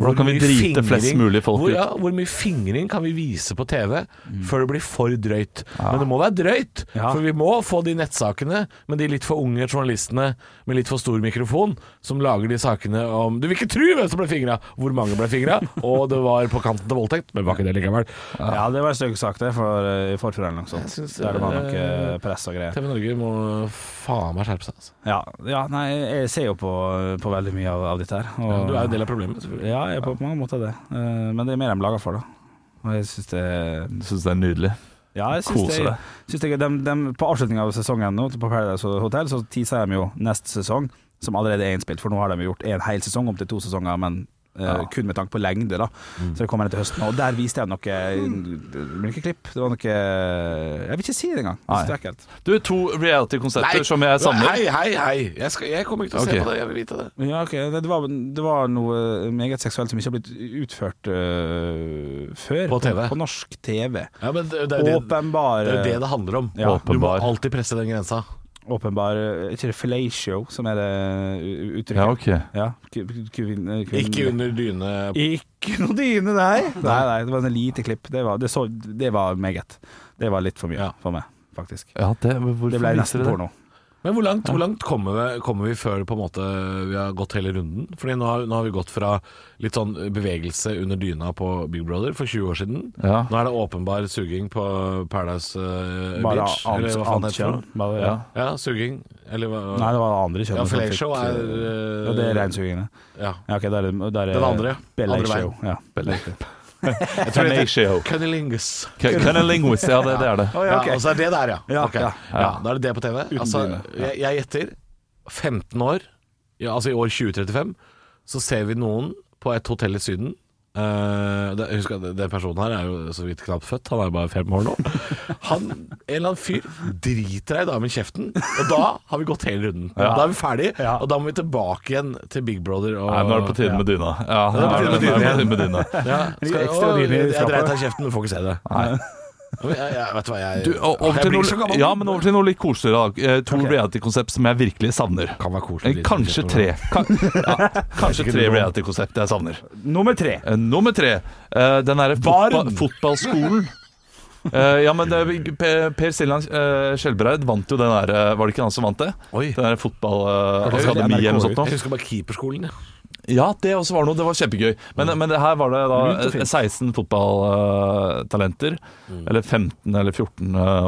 Speaker 3: Hvordan kan vi
Speaker 1: mye
Speaker 3: drite flest mulig folk
Speaker 1: hvor,
Speaker 3: ut? Mm.
Speaker 1: ja, hvor mye fingring kan vi vise på TV før det blir for drøyt? Men det må være drøyt,
Speaker 2: Ja.
Speaker 1: for vi må få de nettsakene med de litt for unge journalistene med litt for stor mikrofon som lager de sakene om Du vil ikke tro hvem som ble fingra, hvor mange ble fingra, og det var på kanten til voldtekt, men var ikke det likevel.
Speaker 2: Ja, det var en stygg sak, det, for eh, i forfjor eller noe sånt.
Speaker 1: Jeg synes,
Speaker 2: Der det var noe
Speaker 1: eh,
Speaker 2: eh, press og greier.
Speaker 1: TV Norge må faen meg skjerpe seg, altså.
Speaker 2: Ja, ja nei, jeg ser jo på, på veldig mye av, av dette her.
Speaker 1: Du
Speaker 2: Og,
Speaker 1: er jo del av problemet, selvfølgelig.
Speaker 2: Ja, jeg er på mange måter det. Eh, men det er mer de lager for, da. Og jeg syns det
Speaker 3: Jeg syns det er nydelig.
Speaker 2: Ja, jeg syns
Speaker 3: Koser
Speaker 2: det.
Speaker 3: deg.
Speaker 2: Syns jeg, dem- dem- på avslutninga av sesongen nå, på Paradise Hotel, så teaser de jo neste sesong, som allerede er innspilt. For nå har de jo gjort en hel sesong om til to sesonger, men eh, kun med tanke på lengde, da.
Speaker 1: Mm.
Speaker 2: Så det kommer en til høsten. Og der viste jeg noe Hvilke klipp? Det var noe Jeg vil ikke si det engang. Jeg synes Det er ekkelt.
Speaker 3: Du, to reality-konsepter som jeg samler.
Speaker 1: Hei, hei, hei! Jeg, skal, jeg kommer ikke til å
Speaker 3: Ok.
Speaker 1: se på det, jeg vil vite det.
Speaker 2: Ja, ok. Det, det, var, det var noe meget seksuelt som ikke har blitt utført eh, før.
Speaker 1: På TV.
Speaker 2: På norsk TV.
Speaker 1: Ja, men det, det, er jo det,
Speaker 2: Åpenbar
Speaker 1: det er jo det det handler om.
Speaker 2: eh, Ja.
Speaker 1: Du må
Speaker 3: Åpenbar.
Speaker 1: alltid presse den grensa.
Speaker 2: Åpenbar Er ikke det fellatio som er det u-
Speaker 3: Ja,
Speaker 2: uttrykket?
Speaker 3: ok.
Speaker 2: Ja, ku- ku- kuvin- eh, kuvin-
Speaker 1: Ikke under dyne
Speaker 2: Ikke noe dyne, nei. nei! Nei, det var en lite klipp. Det var, det så, det var meget. Det var litt for mye
Speaker 1: Ja.
Speaker 2: for meg, faktisk.
Speaker 3: Ja, det, men hvorfor
Speaker 2: Det ble
Speaker 3: visste
Speaker 2: nesten
Speaker 3: dere
Speaker 2: porno.
Speaker 1: Men hvor langt, hvor langt kommer, vi, kommer vi før på en måte vi har gått hele runden? Fordi nå har, nå har vi gått fra litt sånn bevegelse under dyna på Big Brother for 20 år siden.
Speaker 3: Ja.
Speaker 1: Nå er det åpenbar suging på Paradise eh,
Speaker 2: Bare
Speaker 1: Beach.
Speaker 2: annet
Speaker 1: eller hva faen heter
Speaker 2: annet
Speaker 1: det?
Speaker 2: kjønn. Bare-
Speaker 3: Ja.
Speaker 1: for noe? Ja, suging. Eller hva
Speaker 2: Nei, det var det andre kjønnet.
Speaker 1: Ja,
Speaker 2: som fikk,
Speaker 1: Fellatio er
Speaker 2: eh, ja, Det er reinsugingene.
Speaker 1: Ja.
Speaker 2: Ja, ok, da er det da er det-
Speaker 1: Den andre. Andre
Speaker 2: Fellatio.
Speaker 1: veien.
Speaker 2: Ja.
Speaker 1: Jeg tror det heter
Speaker 3: Fellatio.
Speaker 1: Cunnilingus.
Speaker 3: K- Cunnilingus, ja, det, det er det.
Speaker 1: ja, og
Speaker 2: altså,
Speaker 1: så er det der, ja.
Speaker 2: Ja,
Speaker 1: Ok.
Speaker 2: ja.
Speaker 1: ja. Da er det det på TV. Altså,
Speaker 2: dyne,
Speaker 1: jeg, jeg gjetter 15 år, ja, altså i år 2035, så ser vi noen på et hotell i Syden. Eh, det, husk at den personen her er jo så vidt knapt født, han er jo bare fem år nå. Han, en eller annen fyr driter ei dame i kjeften, og da har vi gått hele runden. Da er vi ferdig,
Speaker 2: Ja.
Speaker 1: og da må vi tilbake igjen til Big Brother. Og,
Speaker 3: Nei, nå er det på tide med dyna. Ja, nå
Speaker 1: på
Speaker 3: er
Speaker 1: tide med
Speaker 3: det- nå er det på
Speaker 1: dyna
Speaker 3: tide med dyna.
Speaker 1: ja, skal,
Speaker 2: Litt ekstra
Speaker 1: å,
Speaker 2: dyne i
Speaker 1: jeg, jeg
Speaker 2: skapet.
Speaker 1: dreit av kjeften, men får ikke se det. Jeg, jeg, vet du hva, jeg,
Speaker 3: Du, og over
Speaker 1: jeg
Speaker 3: til
Speaker 1: blir så
Speaker 3: noe,
Speaker 1: gammel.
Speaker 3: ja, men over til noe litt koseligere. da. Eh, To reality-konsept som jeg virkelig savner.
Speaker 1: Kan være koselig.
Speaker 3: Eh, Kanskje tre. Kan, ja, kanskje tre reality-konsept jeg savner.
Speaker 2: Nummer tre.
Speaker 3: Eh, Nummer tre. eh, Den derre fotba
Speaker 2: Baren.
Speaker 3: fotballskolen. Eh, ja, men det, Per, per Siljan eh, Skjelbreid vant jo den der eh, Var det ikke han som vant det?
Speaker 1: Oi.
Speaker 3: Den der
Speaker 2: det er
Speaker 3: fotballakademiet eller noe sånt. nå.
Speaker 1: Jeg husker bare keeperskolen. Ja.
Speaker 3: Ja, det også var noe. Det var kjempegøy. Men, men det her var det
Speaker 2: Lurt Mm. og
Speaker 3: da
Speaker 2: fint. Mm.
Speaker 3: 16 fotballtalenter. Eller 15 eller 14 eh,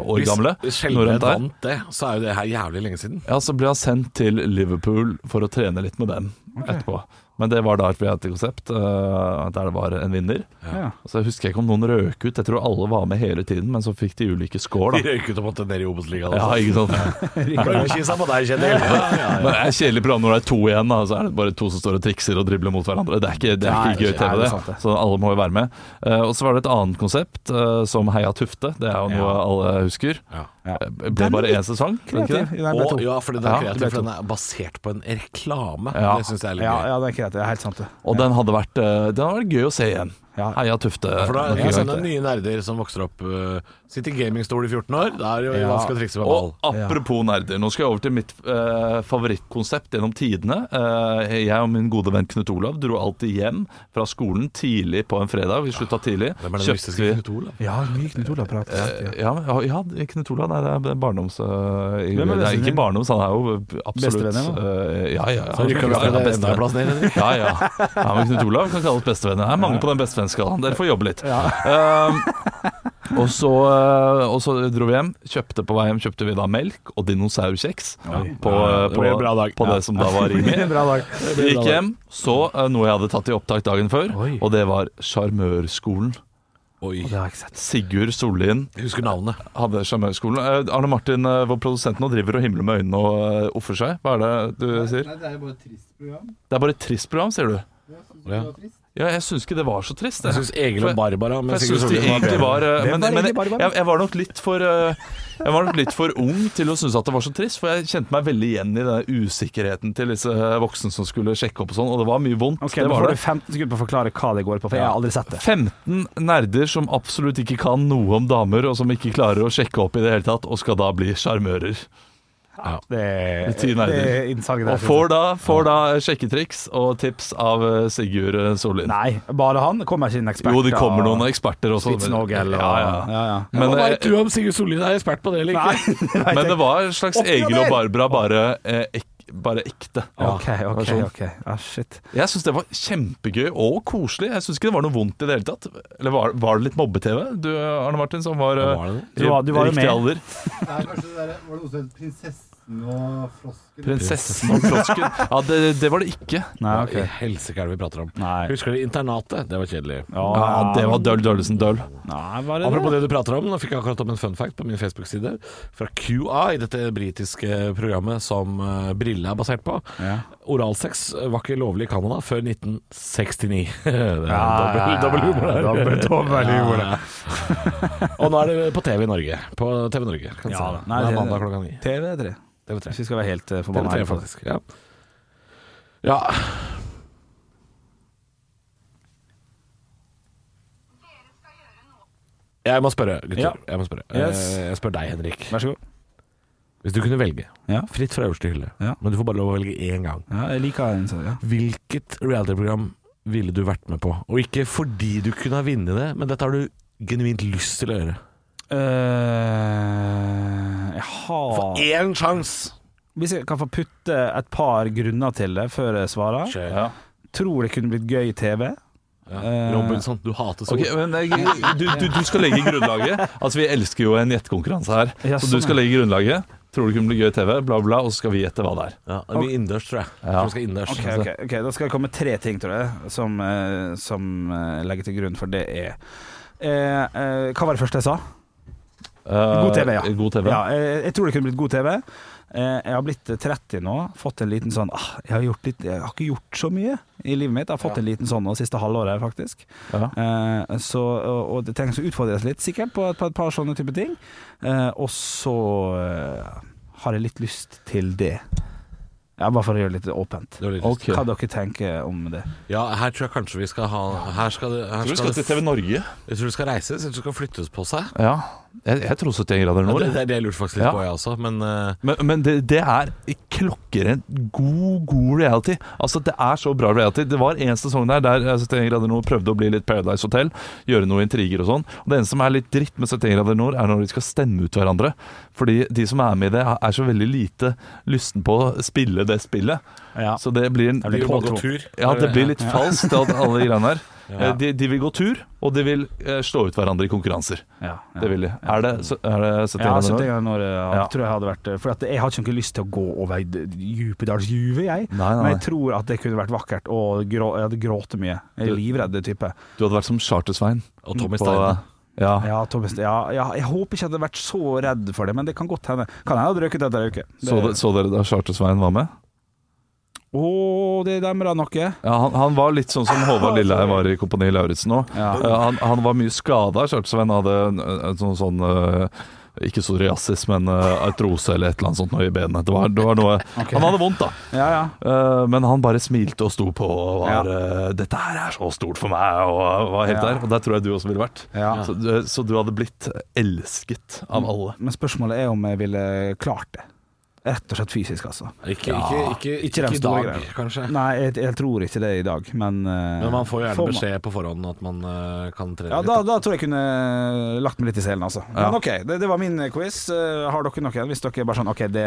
Speaker 3: år gamle.
Speaker 1: Hvis
Speaker 3: når
Speaker 1: Skjelbred
Speaker 3: rundt der.
Speaker 1: vant det, så er jo det her jævlig lenge siden.
Speaker 3: Ja, så ble han sendt til Liverpool for å trene litt med dem etterpå. Men det var da et reality-konsept eh, der det var en vinner.
Speaker 2: Ja.
Speaker 3: Så jeg husker ikke om noen røk ut. Jeg tror alle var med hele tiden, men så fikk de ulike score,
Speaker 1: De
Speaker 3: da.
Speaker 1: røyk ut og måtte ned i Obos-ligaen.
Speaker 3: Ja,
Speaker 1: altså.
Speaker 3: ikke sant?
Speaker 1: Blomkisa på deg, Kjetil.
Speaker 3: Men det er kjedelig program når det er to igjen, da, så er det bare to som står og trikser og dribler mot hverandre. Det er ikke, det er
Speaker 2: Nei,
Speaker 3: ikke gøy
Speaker 2: det er
Speaker 3: TV,
Speaker 2: sant,
Speaker 3: det.
Speaker 2: det.
Speaker 3: Så alle må jo være med. Eh, og så var det et annet konsept, eh, som Heia Tufte. Det er jo noe alle husker.
Speaker 1: Ja.
Speaker 2: Ja.
Speaker 3: Eh, Ble bare én sesong, ble det ikke det?
Speaker 2: Ja,
Speaker 1: Og, ja, for den er
Speaker 3: Ja, det
Speaker 1: kreativ,
Speaker 3: ble
Speaker 1: for den er basert på en reklame.
Speaker 3: Ja.
Speaker 1: Det syns jeg er litt
Speaker 2: ja,
Speaker 1: gøy.
Speaker 2: ja, det er kreativt. Det er helt sant, det.
Speaker 3: Og den hadde vært, eh, den hadde vært gøy å se igjen.
Speaker 2: Ja.
Speaker 3: Heia Tufte.
Speaker 1: For da er
Speaker 3: Noe
Speaker 1: det
Speaker 3: gøy.
Speaker 1: sånne nye nerder som vokser opp øh, Sitter i gamingstol i 14 år. Da er det jo
Speaker 2: Ja.
Speaker 1: vanskelig å trikse med ball.
Speaker 3: Og apropos nerder, nå skal jeg over til mitt eh, favorittkonsept gjennom tidene. Eh, jeg og min gode venn Knut Olav dro alltid hjem fra skolen tidlig på en fredag. Vi slutta tidlig.
Speaker 1: Hvem er den
Speaker 3: Kjøpte vi-
Speaker 1: mystiske Knut Olav?
Speaker 2: Ja, mye Knut Olav-prat.
Speaker 3: Eh, ja, ja, ja, Knut Olav nei, det er barndoms... eh,
Speaker 2: Hvem er
Speaker 3: i- det er
Speaker 2: bestevennen
Speaker 3: ikke
Speaker 2: din?
Speaker 3: barndoms, han er jo absolutt
Speaker 2: Bestevennen,
Speaker 3: eh, Ja, ja. ja.
Speaker 1: Så rykker vi opp
Speaker 3: Ja,
Speaker 1: til
Speaker 3: ja,
Speaker 1: enda en plass ned, Henrik.
Speaker 3: Ja, ja. ja, men Knut Olav kan kalles bestevenner. Det er mange på den bestevennskalaen. Dere får jobbe litt. Um, og, så, eh, og så dro vi hjem. Kjøpte på vei hjem kjøpte vi da melk og dinosaurkjeks på, eh,
Speaker 1: det
Speaker 3: på,
Speaker 1: blir en bra dag.
Speaker 3: på det som da var Rimi.
Speaker 2: Bra dag.
Speaker 3: Vi gikk hjem, så eh, noe jeg hadde tatt i opptak dagen før,
Speaker 1: Oi.
Speaker 3: og det var Sjarmørskolen.
Speaker 1: Oi.
Speaker 2: Det har jeg ikke sett.
Speaker 3: Sigurd Sollien
Speaker 1: Jeg husker navnet.
Speaker 3: hadde Sjarmørskolen. Eh, Arne Martin, eh, vår produsent nå, driver og himler med øynene og eh, offer seg. Hva er det du sier?
Speaker 4: Nei, det er jo bare et trist program.
Speaker 3: Det er bare et trist program, sier du?
Speaker 4: Jeg synes
Speaker 1: Ja.
Speaker 4: det var trist.
Speaker 3: Ja, jeg syns ikke det var så trist.
Speaker 1: Jeg
Speaker 3: jeg.
Speaker 1: syns Egil og Barbara men
Speaker 3: For jeg
Speaker 1: Sigurd
Speaker 3: synes de
Speaker 1: Solheim
Speaker 3: egentlig
Speaker 1: bedre.
Speaker 3: var eh,
Speaker 2: Hvem
Speaker 3: Men,
Speaker 2: var
Speaker 3: men
Speaker 2: egentlig
Speaker 3: jeg,
Speaker 2: Barbara?
Speaker 3: jeg var nok litt for eh, Jeg var nok litt for ung til å synes at det var så trist, for jeg kjente meg veldig igjen i den usikkerheten til disse eh, voksne som skulle sjekke opp og sånn, og det var mye vondt.
Speaker 2: Ok,
Speaker 3: det
Speaker 2: Nå får
Speaker 3: var det.
Speaker 2: du 15 sekunder på å forklare hva det går på, for jeg har aldri sett det.
Speaker 3: 15 nerder som absolutt ikke kan noe om damer, og som ikke klarer å sjekke opp i det hele tatt, og skal da bli sjarmører.
Speaker 2: Det er,
Speaker 3: Ti nerder.
Speaker 2: det er innsalget der.
Speaker 3: Og får da, får da sjekketriks og tips av eh, Sigurd eh, Sollien.
Speaker 2: Nei, bare han? Kommer ikke inn eksperter?
Speaker 3: Jo, det kommer noen eksperter også. men-
Speaker 2: Spitsnogel og
Speaker 3: ja, ja.
Speaker 2: ja, ja.
Speaker 3: Men,
Speaker 1: Hva
Speaker 3: eh,
Speaker 1: veit du om Sigurd Solheim er ekspert på det eller ikke?
Speaker 2: Nei,
Speaker 3: Men det var en slags
Speaker 2: Oppgrader!
Speaker 3: Egil og Barbara, bare, eh, ek, bare ekte.
Speaker 2: OK, OK.
Speaker 3: Versjon.
Speaker 2: ok ah, Shit.
Speaker 3: Jeg syns det var kjempegøy og koselig. Jeg syns ikke det var noe vondt i det hele tatt. Eller var, var det litt mobbe-TV, du Arne Martin, som var, eh,
Speaker 1: Hva var det?
Speaker 3: i
Speaker 2: Du var- du var jo
Speaker 3: riktig
Speaker 2: med.
Speaker 3: alder?
Speaker 4: Det er kanskje det der, var det noe som het Prinsessen og frosken?
Speaker 3: Prinsessen og frosken. Ja, det, det var det ikke.
Speaker 2: Nei,
Speaker 1: Hva
Speaker 2: OK.
Speaker 1: i helsike er det vi prater om?
Speaker 2: Nei.
Speaker 1: Husker dere internatet? Det var kjedelig.
Speaker 3: Ja, det var døll døllesen døll.
Speaker 2: Nei, var det
Speaker 1: Apropos
Speaker 2: det?
Speaker 1: det du prater om, nå fikk jeg akkurat opp en fun fact på min Facebook-side fra QI, dette britiske programmet som eh, Brille er basert på.
Speaker 2: Ja.
Speaker 1: Oralsex var ikke lovlig i Canada før 1969. det er
Speaker 2: ja, ja.
Speaker 1: dobbel, dobbel humor her.
Speaker 2: Dobbel- dobbel humor,
Speaker 1: Ja, ja. Og nå er det på TV i Norge. På TV Norge, kan du
Speaker 2: Ja,
Speaker 1: si.
Speaker 2: da.
Speaker 1: Nei,
Speaker 2: Nei,
Speaker 1: det er
Speaker 2: det-
Speaker 1: mandag klokka ni.
Speaker 2: TV3.
Speaker 1: TV3.
Speaker 2: Hvis vi skal være helt uh,
Speaker 1: TV3,
Speaker 2: forbanna. her.
Speaker 1: faktisk. Ja. ja. Jeg må spørre, gutter.
Speaker 2: Ja.
Speaker 1: Jeg, må spørre.
Speaker 2: Yes.
Speaker 1: Eh, jeg spør deg, Henrik.
Speaker 2: Vær så god.
Speaker 1: Hvis du kunne velge,
Speaker 2: Ja.
Speaker 1: fritt fra øverste hylle,
Speaker 2: Ja.
Speaker 1: men du får bare lov å velge én gang.
Speaker 2: Ja, jeg liker den. så- Ja.
Speaker 1: Hvilket reality-program ville du vært med på? Og ikke fordi du kunne ha vunnet det, men dette har du genuint lyst til å gjøre.
Speaker 2: Eh, jeg har
Speaker 1: Én sjanse!
Speaker 2: Hvis jeg kan få putte et par grunner til det før jeg svarer
Speaker 3: Ja.
Speaker 2: Tror det kunne blitt gøy i TV. Eh,
Speaker 1: Robinson, du hater sol.
Speaker 3: Ok, men jeg, du, du, du skal legge grunnlaget. Altså, Vi elsker jo en gjettekonkurranse her.
Speaker 2: Ja,
Speaker 3: Så
Speaker 2: sånn,
Speaker 3: du skal
Speaker 2: ja.
Speaker 3: legge grunnlaget. Tror du det kunne bli gøy i TV? Bla, bla, og så skal vi gjette hva det er.
Speaker 1: Ja, det blir innendørs, tror jeg.
Speaker 3: Ja.
Speaker 1: Du skal innendørs.
Speaker 2: Ok, ok, ok, Da skal det komme tre ting tror jeg som, eh, som eh, legger til grunn for det er eh, eh, Hva var det første jeg sa?
Speaker 3: Eh,
Speaker 2: God TV, ja.
Speaker 3: God TV.
Speaker 2: Ja, eh, jeg tror det kunne blitt god TV. Eh, jeg har blitt 30 nå, fått en liten sånn ah, jeg, har gjort litt, jeg har ikke gjort så mye i livet mitt. Jeg har fått en liten sånn nå siste halvåret, faktisk.
Speaker 3: Ja.
Speaker 2: Eh, så, og, og det trengs å utfordres litt, sikkert, på, et- på et par sånne type ting. Eh, og så eh, har jeg litt lyst til det. Ja, bare for å gjøre det litt åpent.
Speaker 1: Det var litt lyst.
Speaker 3: Ok.
Speaker 2: Hva dere tenker om det?
Speaker 1: ja, her tror jeg kanskje vi skal ha Her skal det her
Speaker 3: Tror du skal
Speaker 1: det-
Speaker 3: til TV Norge?
Speaker 1: Jeg tror det skal reises, jeg tror det skal flyttes på seg.
Speaker 3: Ja. Jeg, jeg tror 71 grader
Speaker 1: Ja,
Speaker 3: nord.
Speaker 1: det,
Speaker 3: jeg.
Speaker 1: det, det lurte faktisk litt
Speaker 3: Ja.
Speaker 1: på, jeg også. Men eh,
Speaker 3: Men, men det, det er klokkeren god, god reality. Altså, det er så bra reality. Det var en sesong der der eh, 71 grader nord prøvde å bli litt Paradise Hotel, gjøre noe intriger og sånn. Og Det eneste som er litt dritt med 71 grader nord, er når de skal stemme ut hverandre. Fordi de som er med i det, er så veldig lite lysten på å spille det spillet.
Speaker 2: Ja.
Speaker 3: Så det blir en
Speaker 2: Det blir
Speaker 1: på
Speaker 2: påtro.
Speaker 1: tur. eh,
Speaker 3: Ja, det blir litt falskt, alt- alle de greiene der.
Speaker 1: Ja.
Speaker 3: Eh, De, de vil gå tur, og de vil eh, slå ut hverandre i konkurranser.
Speaker 2: Ja, ja.
Speaker 3: Det vil de. Er det, så- er det
Speaker 2: Ja,
Speaker 3: 71 grader
Speaker 2: 70
Speaker 3: nord?
Speaker 2: ganger når jeg
Speaker 3: Ja.
Speaker 2: tror jeg hadde vært eh, For at jeg har ikke noe lyst til å gå over d- Djupedalsjuvet, jeg.
Speaker 3: Nei, nei,
Speaker 2: Men
Speaker 3: nei.
Speaker 2: jeg tror at det kunne vært vakkert, og grå, jeg hadde grått mye. Jeg er livredd type.
Speaker 3: Du hadde vært som Charter-Svein.
Speaker 1: Og Tommy
Speaker 3: på-
Speaker 1: Steine.
Speaker 3: Ja.
Speaker 2: Ja, Thomas, ja, ja, jeg håper ikke jeg hadde vært så redd for det, men det kan godt hende. Kan hende jeg hadde røket etter ei uke. Det-
Speaker 3: Så, de, så dere da Charter-Svein var med?
Speaker 2: Å, det demra noe.
Speaker 3: Ja, han, han var litt sånn som Håvard Lilleheie var i Kompani Lauritzen òg.
Speaker 2: Ja.
Speaker 3: Han, han var mye skada. Charter-Svein hadde en, en sånn, sånn eh, ikke psoriasis, men eh, artrose eller et eller annet sånt noe i benet. Det var, det var noe
Speaker 2: Ok.
Speaker 3: Han hadde vondt, da.
Speaker 2: Ja, ja.
Speaker 3: Eh, men han bare smilte og sto på og var
Speaker 2: Ja.
Speaker 3: eh, 'Dette her er så stort for meg', og var helt
Speaker 2: Ja.
Speaker 3: der. Og der tror jeg du også ville vært.
Speaker 2: Ja. Mm.
Speaker 3: Så, du- så du hadde blitt elsket av alle.
Speaker 2: Men spørsmålet er om jeg ville klart det. Rett og slett fysisk, altså.
Speaker 1: Ikke, ikke, ikke,
Speaker 2: Ikke
Speaker 1: ikke,
Speaker 2: den
Speaker 1: i
Speaker 2: store
Speaker 1: dag,
Speaker 2: greia.
Speaker 1: kanskje.
Speaker 2: Nei, jeg, jeg tror ikke det i dag, men eh,
Speaker 1: Men man får jo gjerne
Speaker 2: man-
Speaker 1: beskjed på forhånd at man eh, kan trene
Speaker 2: Ja,
Speaker 1: litt.
Speaker 2: da, da tror jeg kunne lagt meg litt i selen, altså. Men ok, det, det var min quiz. Eh, Har dere noen? Hvis dere bare sånn OK, det,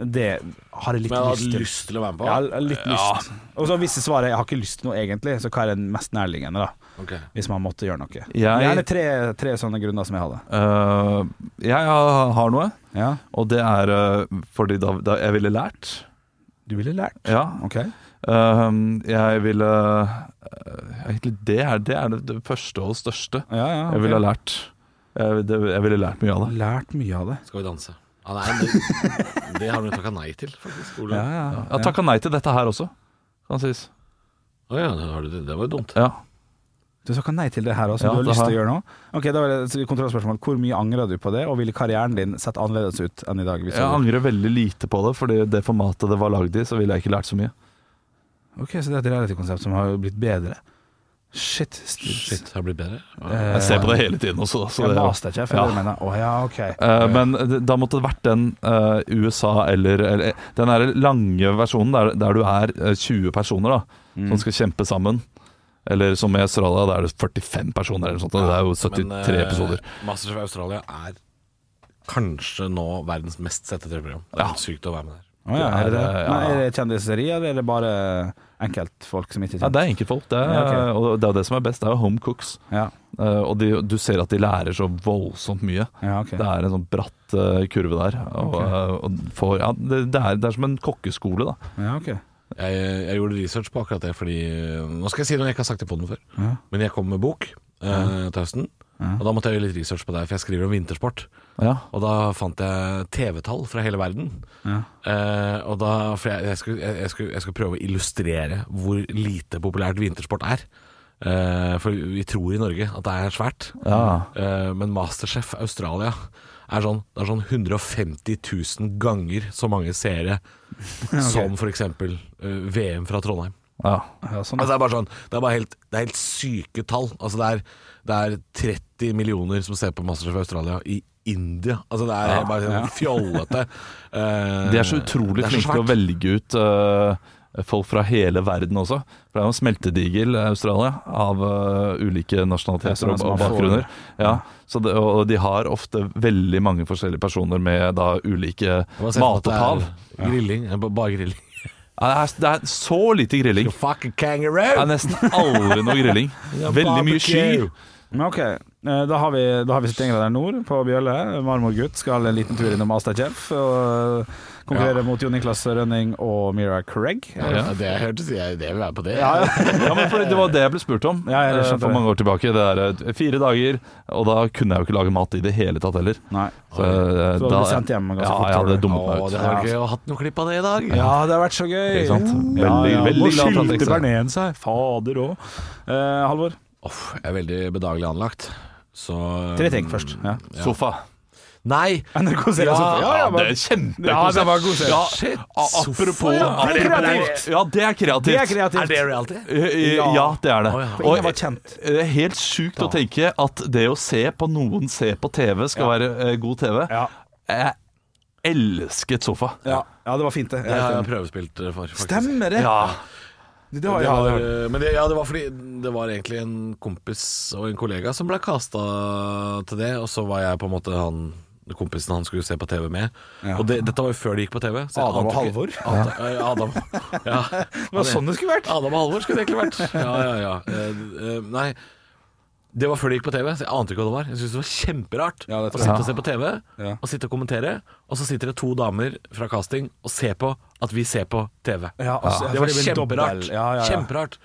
Speaker 2: det har jeg litt
Speaker 1: Men jeg
Speaker 2: lyst
Speaker 1: hadde
Speaker 2: til.
Speaker 1: lyst til å være med på.
Speaker 2: Ja, litt lyst. Og så hvis svaret er 'jeg har ikke lyst til noe egentlig', så hva er den mest nærliggende, da?
Speaker 1: Ok.
Speaker 2: Hvis man måtte gjøre noe.
Speaker 3: Jeg-
Speaker 2: Gjerne tre, tre sånne grunner som jeg hadde.
Speaker 3: Eh, jeg har har noe,
Speaker 2: Ja.
Speaker 3: og det er eh, fordi da, da jeg ville lært.
Speaker 2: Du ville lært.
Speaker 3: Ja.
Speaker 2: OK.
Speaker 3: Ehm, jeg ville eh, Egentlig det er det, er det, det første og største
Speaker 2: Ja, ja. ok.
Speaker 3: jeg ville ha lært. Jeg, det, jeg ville lært mye av det.
Speaker 2: Lært mye av det.
Speaker 1: Skal vi danse? Ja, nei, det, det har hun takka nei til, faktisk. Olav.
Speaker 2: Ja, ja.
Speaker 3: Jeg har takka nei til dette her også, kan sies.
Speaker 1: Å ja, det, har du, det var jo dumt.
Speaker 3: Ja.
Speaker 2: Du sa ikke nei til det her også,
Speaker 3: Ja,
Speaker 2: du har
Speaker 3: det
Speaker 2: lyst
Speaker 3: har
Speaker 2: til å
Speaker 3: jeg.
Speaker 2: gjøre noe? Ok, da var det et kontrollspørsmål. Hvor mye angrer du på det, og ville karrieren din sett annerledes ut enn i dag? hvis du
Speaker 3: Jeg
Speaker 2: hadde-
Speaker 3: angrer veldig lite på det, fordi det formatet det var lagd i, så ville jeg ikke lært så mye.
Speaker 2: Ok, så det er et reality-konsept som har blitt bedre. Shit.
Speaker 1: Shit, det har blitt bedre.
Speaker 3: Jeg ser på det hele tiden også, da. Så
Speaker 2: Eh. jeg
Speaker 3: det,
Speaker 2: master ikke, jeg føler
Speaker 3: Ja.
Speaker 2: det mener. Å ja, ok.
Speaker 3: Eh, men det- da måtte det vært den eh, USA eller, eller eh, Den der lange versjonen der, der du er eh, 20 personer da som skal kjempe sammen. Eller som i Australia, der er det 45 personer eller noe sånt. og det er jo 73
Speaker 1: Men, eh,
Speaker 3: episoder.
Speaker 1: Masters of Australia er kanskje nå verdens mest sette TV-program. Det er
Speaker 3: Ja.
Speaker 1: helt sykt å være med der.
Speaker 2: Å ja, er det det?
Speaker 3: det er- eh, ja.
Speaker 2: Men er det kjendiseri, eller er det bare enkeltfolk som ikke
Speaker 3: Ja,
Speaker 2: kjenner?
Speaker 3: det er enkeltfolk. Det er,
Speaker 2: Ja,
Speaker 3: Og det er jo det som er best. Det er jo home cooks.
Speaker 2: Ja,
Speaker 3: Eh, og de, du ser at de lærer så voldsomt mye.
Speaker 2: ja, ok.
Speaker 3: Det er en sånn bratt eh, kurve der. Og,
Speaker 2: Ok.
Speaker 3: eh, og får, ja, det, det, er, det er som en kokkeskole, da.
Speaker 2: Ja, ok.
Speaker 1: Jeg, jeg gjorde research på akkurat det, fordi eh, Nå skal jeg si noe jeg ikke har sagt i poden før.
Speaker 2: Ja.
Speaker 1: Men jeg kom med bok eh, til høsten, og da måtte jeg gjøre litt research på deg, for jeg skriver om vintersport.
Speaker 3: Ja.
Speaker 1: Og da fant jeg TV-tall fra hele verden.
Speaker 2: Ja.
Speaker 1: Eh, og da, for jeg, jeg, skulle, jeg, jeg, skulle, jeg skulle prøve å illustrere hvor lite populært vintersport er. Eh, for vi tror i Norge at det er svært.
Speaker 3: ja.
Speaker 1: Eh, men Masterchef Australia er sånn, det er sånn 150 000 ganger så mange seere som f.eks. Uh, VM fra Trondheim.
Speaker 3: ja.
Speaker 2: Ja, sånn.
Speaker 1: Altså, det er bare sånn Det er bare helt, det er helt syke tall. Altså, det, er, det er 30 millioner som ser på Masterchef Australia i India. Altså det er bare sånn fjollete. Eh,
Speaker 3: De er så utrolig
Speaker 1: det er så
Speaker 3: flinke til å
Speaker 1: svært.
Speaker 3: velge ut eh, folk fra hele verden også. For det er jo en smeltedigel eh, Australia av eh, ulike
Speaker 2: Det er
Speaker 3: nasjonaliteter
Speaker 2: sånn
Speaker 3: og,
Speaker 2: som
Speaker 3: og
Speaker 2: man får.
Speaker 3: bakgrunner. Ja, så det, og de har ofte veldig mange forskjellige personer med da ulike
Speaker 1: Jeg bare ser for meg at det er
Speaker 3: matopphav.
Speaker 1: Grilling. eh, Bare grilling.
Speaker 3: Ja, Det er, det er så lite grilling.
Speaker 1: You fucking kangaroo!
Speaker 3: Det er nesten aldri noe grilling. Veldig mye sky.
Speaker 2: Men ok, eh, da har vi, da har vi Stengraderen Nord på Bjølle. Marmorgutt skal en liten tur innom Masterchef og konkurrere mot Jon Niklas Rønning og Mira Craig.
Speaker 1: Ja, det hørtes jeg Det vil være på det.
Speaker 3: Ja, men fordi Det var det jeg ble spurt om
Speaker 2: Ja, jeg
Speaker 3: eh,
Speaker 2: skjønte
Speaker 3: for
Speaker 2: det.
Speaker 3: mange år tilbake. Det er eh, fire dager, og da kunne jeg jo ikke lage mat i det hele tatt heller.
Speaker 2: Nei.
Speaker 3: Så, eh,
Speaker 2: Så du
Speaker 3: da-
Speaker 2: ble sendt hjem ganske
Speaker 3: ja,
Speaker 2: fort, tror
Speaker 3: jeg hadde
Speaker 2: du?
Speaker 3: dummet
Speaker 1: Å,
Speaker 3: meg ut.
Speaker 1: det hadde vært gøy å hatt noe klipp av det i dag.
Speaker 2: Ja, det har vært så gøy!
Speaker 3: Ikke sant? Veldig,
Speaker 2: Ja, ja.
Speaker 3: veldig
Speaker 2: Nå
Speaker 3: glad for at jeg
Speaker 2: skyldte
Speaker 3: ikke sa det.
Speaker 2: Bernén seg! Fader òg. Eh, Halvor,
Speaker 1: Uff, jeg er veldig bedagelig anlagt. Så um,
Speaker 2: tre ting først. Ja.
Speaker 3: Sofa.
Speaker 1: Nei!
Speaker 2: NRK-serien
Speaker 1: Ja,
Speaker 2: Sofa. Ja, ja,
Speaker 3: det
Speaker 2: men-
Speaker 3: er kjempekonsept.
Speaker 2: Ja, det var god serie.
Speaker 3: Ja,
Speaker 1: Shit,
Speaker 3: a-
Speaker 1: sofa,
Speaker 3: apropos
Speaker 1: ja.
Speaker 2: Det er kreativt.
Speaker 3: Ja, det er kreativt.
Speaker 2: Det er kreativt.
Speaker 1: reality?
Speaker 3: Ja, ja, det er det.
Speaker 1: Å, ja.
Speaker 2: For ingen var kjent.
Speaker 3: eh, det er helt sjukt å tenke at det å se på noen se på TV skal være eh, god TV.
Speaker 2: Ja.
Speaker 3: Jeg elsket sofa.
Speaker 2: Ja. ja, det var fint, det. Jeg
Speaker 1: Det
Speaker 2: er
Speaker 1: har
Speaker 2: helt
Speaker 1: jeg
Speaker 2: enig.
Speaker 1: prøvespilt eh, for, faktisk.
Speaker 2: Stemmer det!
Speaker 3: Ja,
Speaker 2: Det har
Speaker 1: Det
Speaker 2: jeg
Speaker 1: var,
Speaker 2: hørt.
Speaker 1: eh, men det, ja, det var fordi det var egentlig en kompis og en kollega som ble kasta til det, og så var jeg på en måte han kompisen han skulle se på TV med. Og det, dette var jo før det gikk på TV. så jeg
Speaker 2: Adam og
Speaker 1: ante ikke-
Speaker 2: Halvor?
Speaker 1: Adam, eh, Adam, ja.
Speaker 2: Det var sånn det skulle vært.
Speaker 1: Adam og Halvor skulle det egentlig vært. Ja, ja, ja. Eh, eh, nei, det var før det gikk på TV, så jeg ante ikke hva det var. Jeg syntes det var kjemperart
Speaker 2: Ja, det
Speaker 1: å
Speaker 2: tror
Speaker 1: sitte
Speaker 2: jeg.
Speaker 1: og se på TV
Speaker 2: Ja.
Speaker 1: og sitte og kommentere, og så sitter det to damer fra casting og ser på at vi ser på TV.
Speaker 2: Ja, altså,
Speaker 1: Det var
Speaker 2: for blir
Speaker 1: kjemperart.
Speaker 2: dobbel. Ja, ja, ja.
Speaker 1: Kjemperart.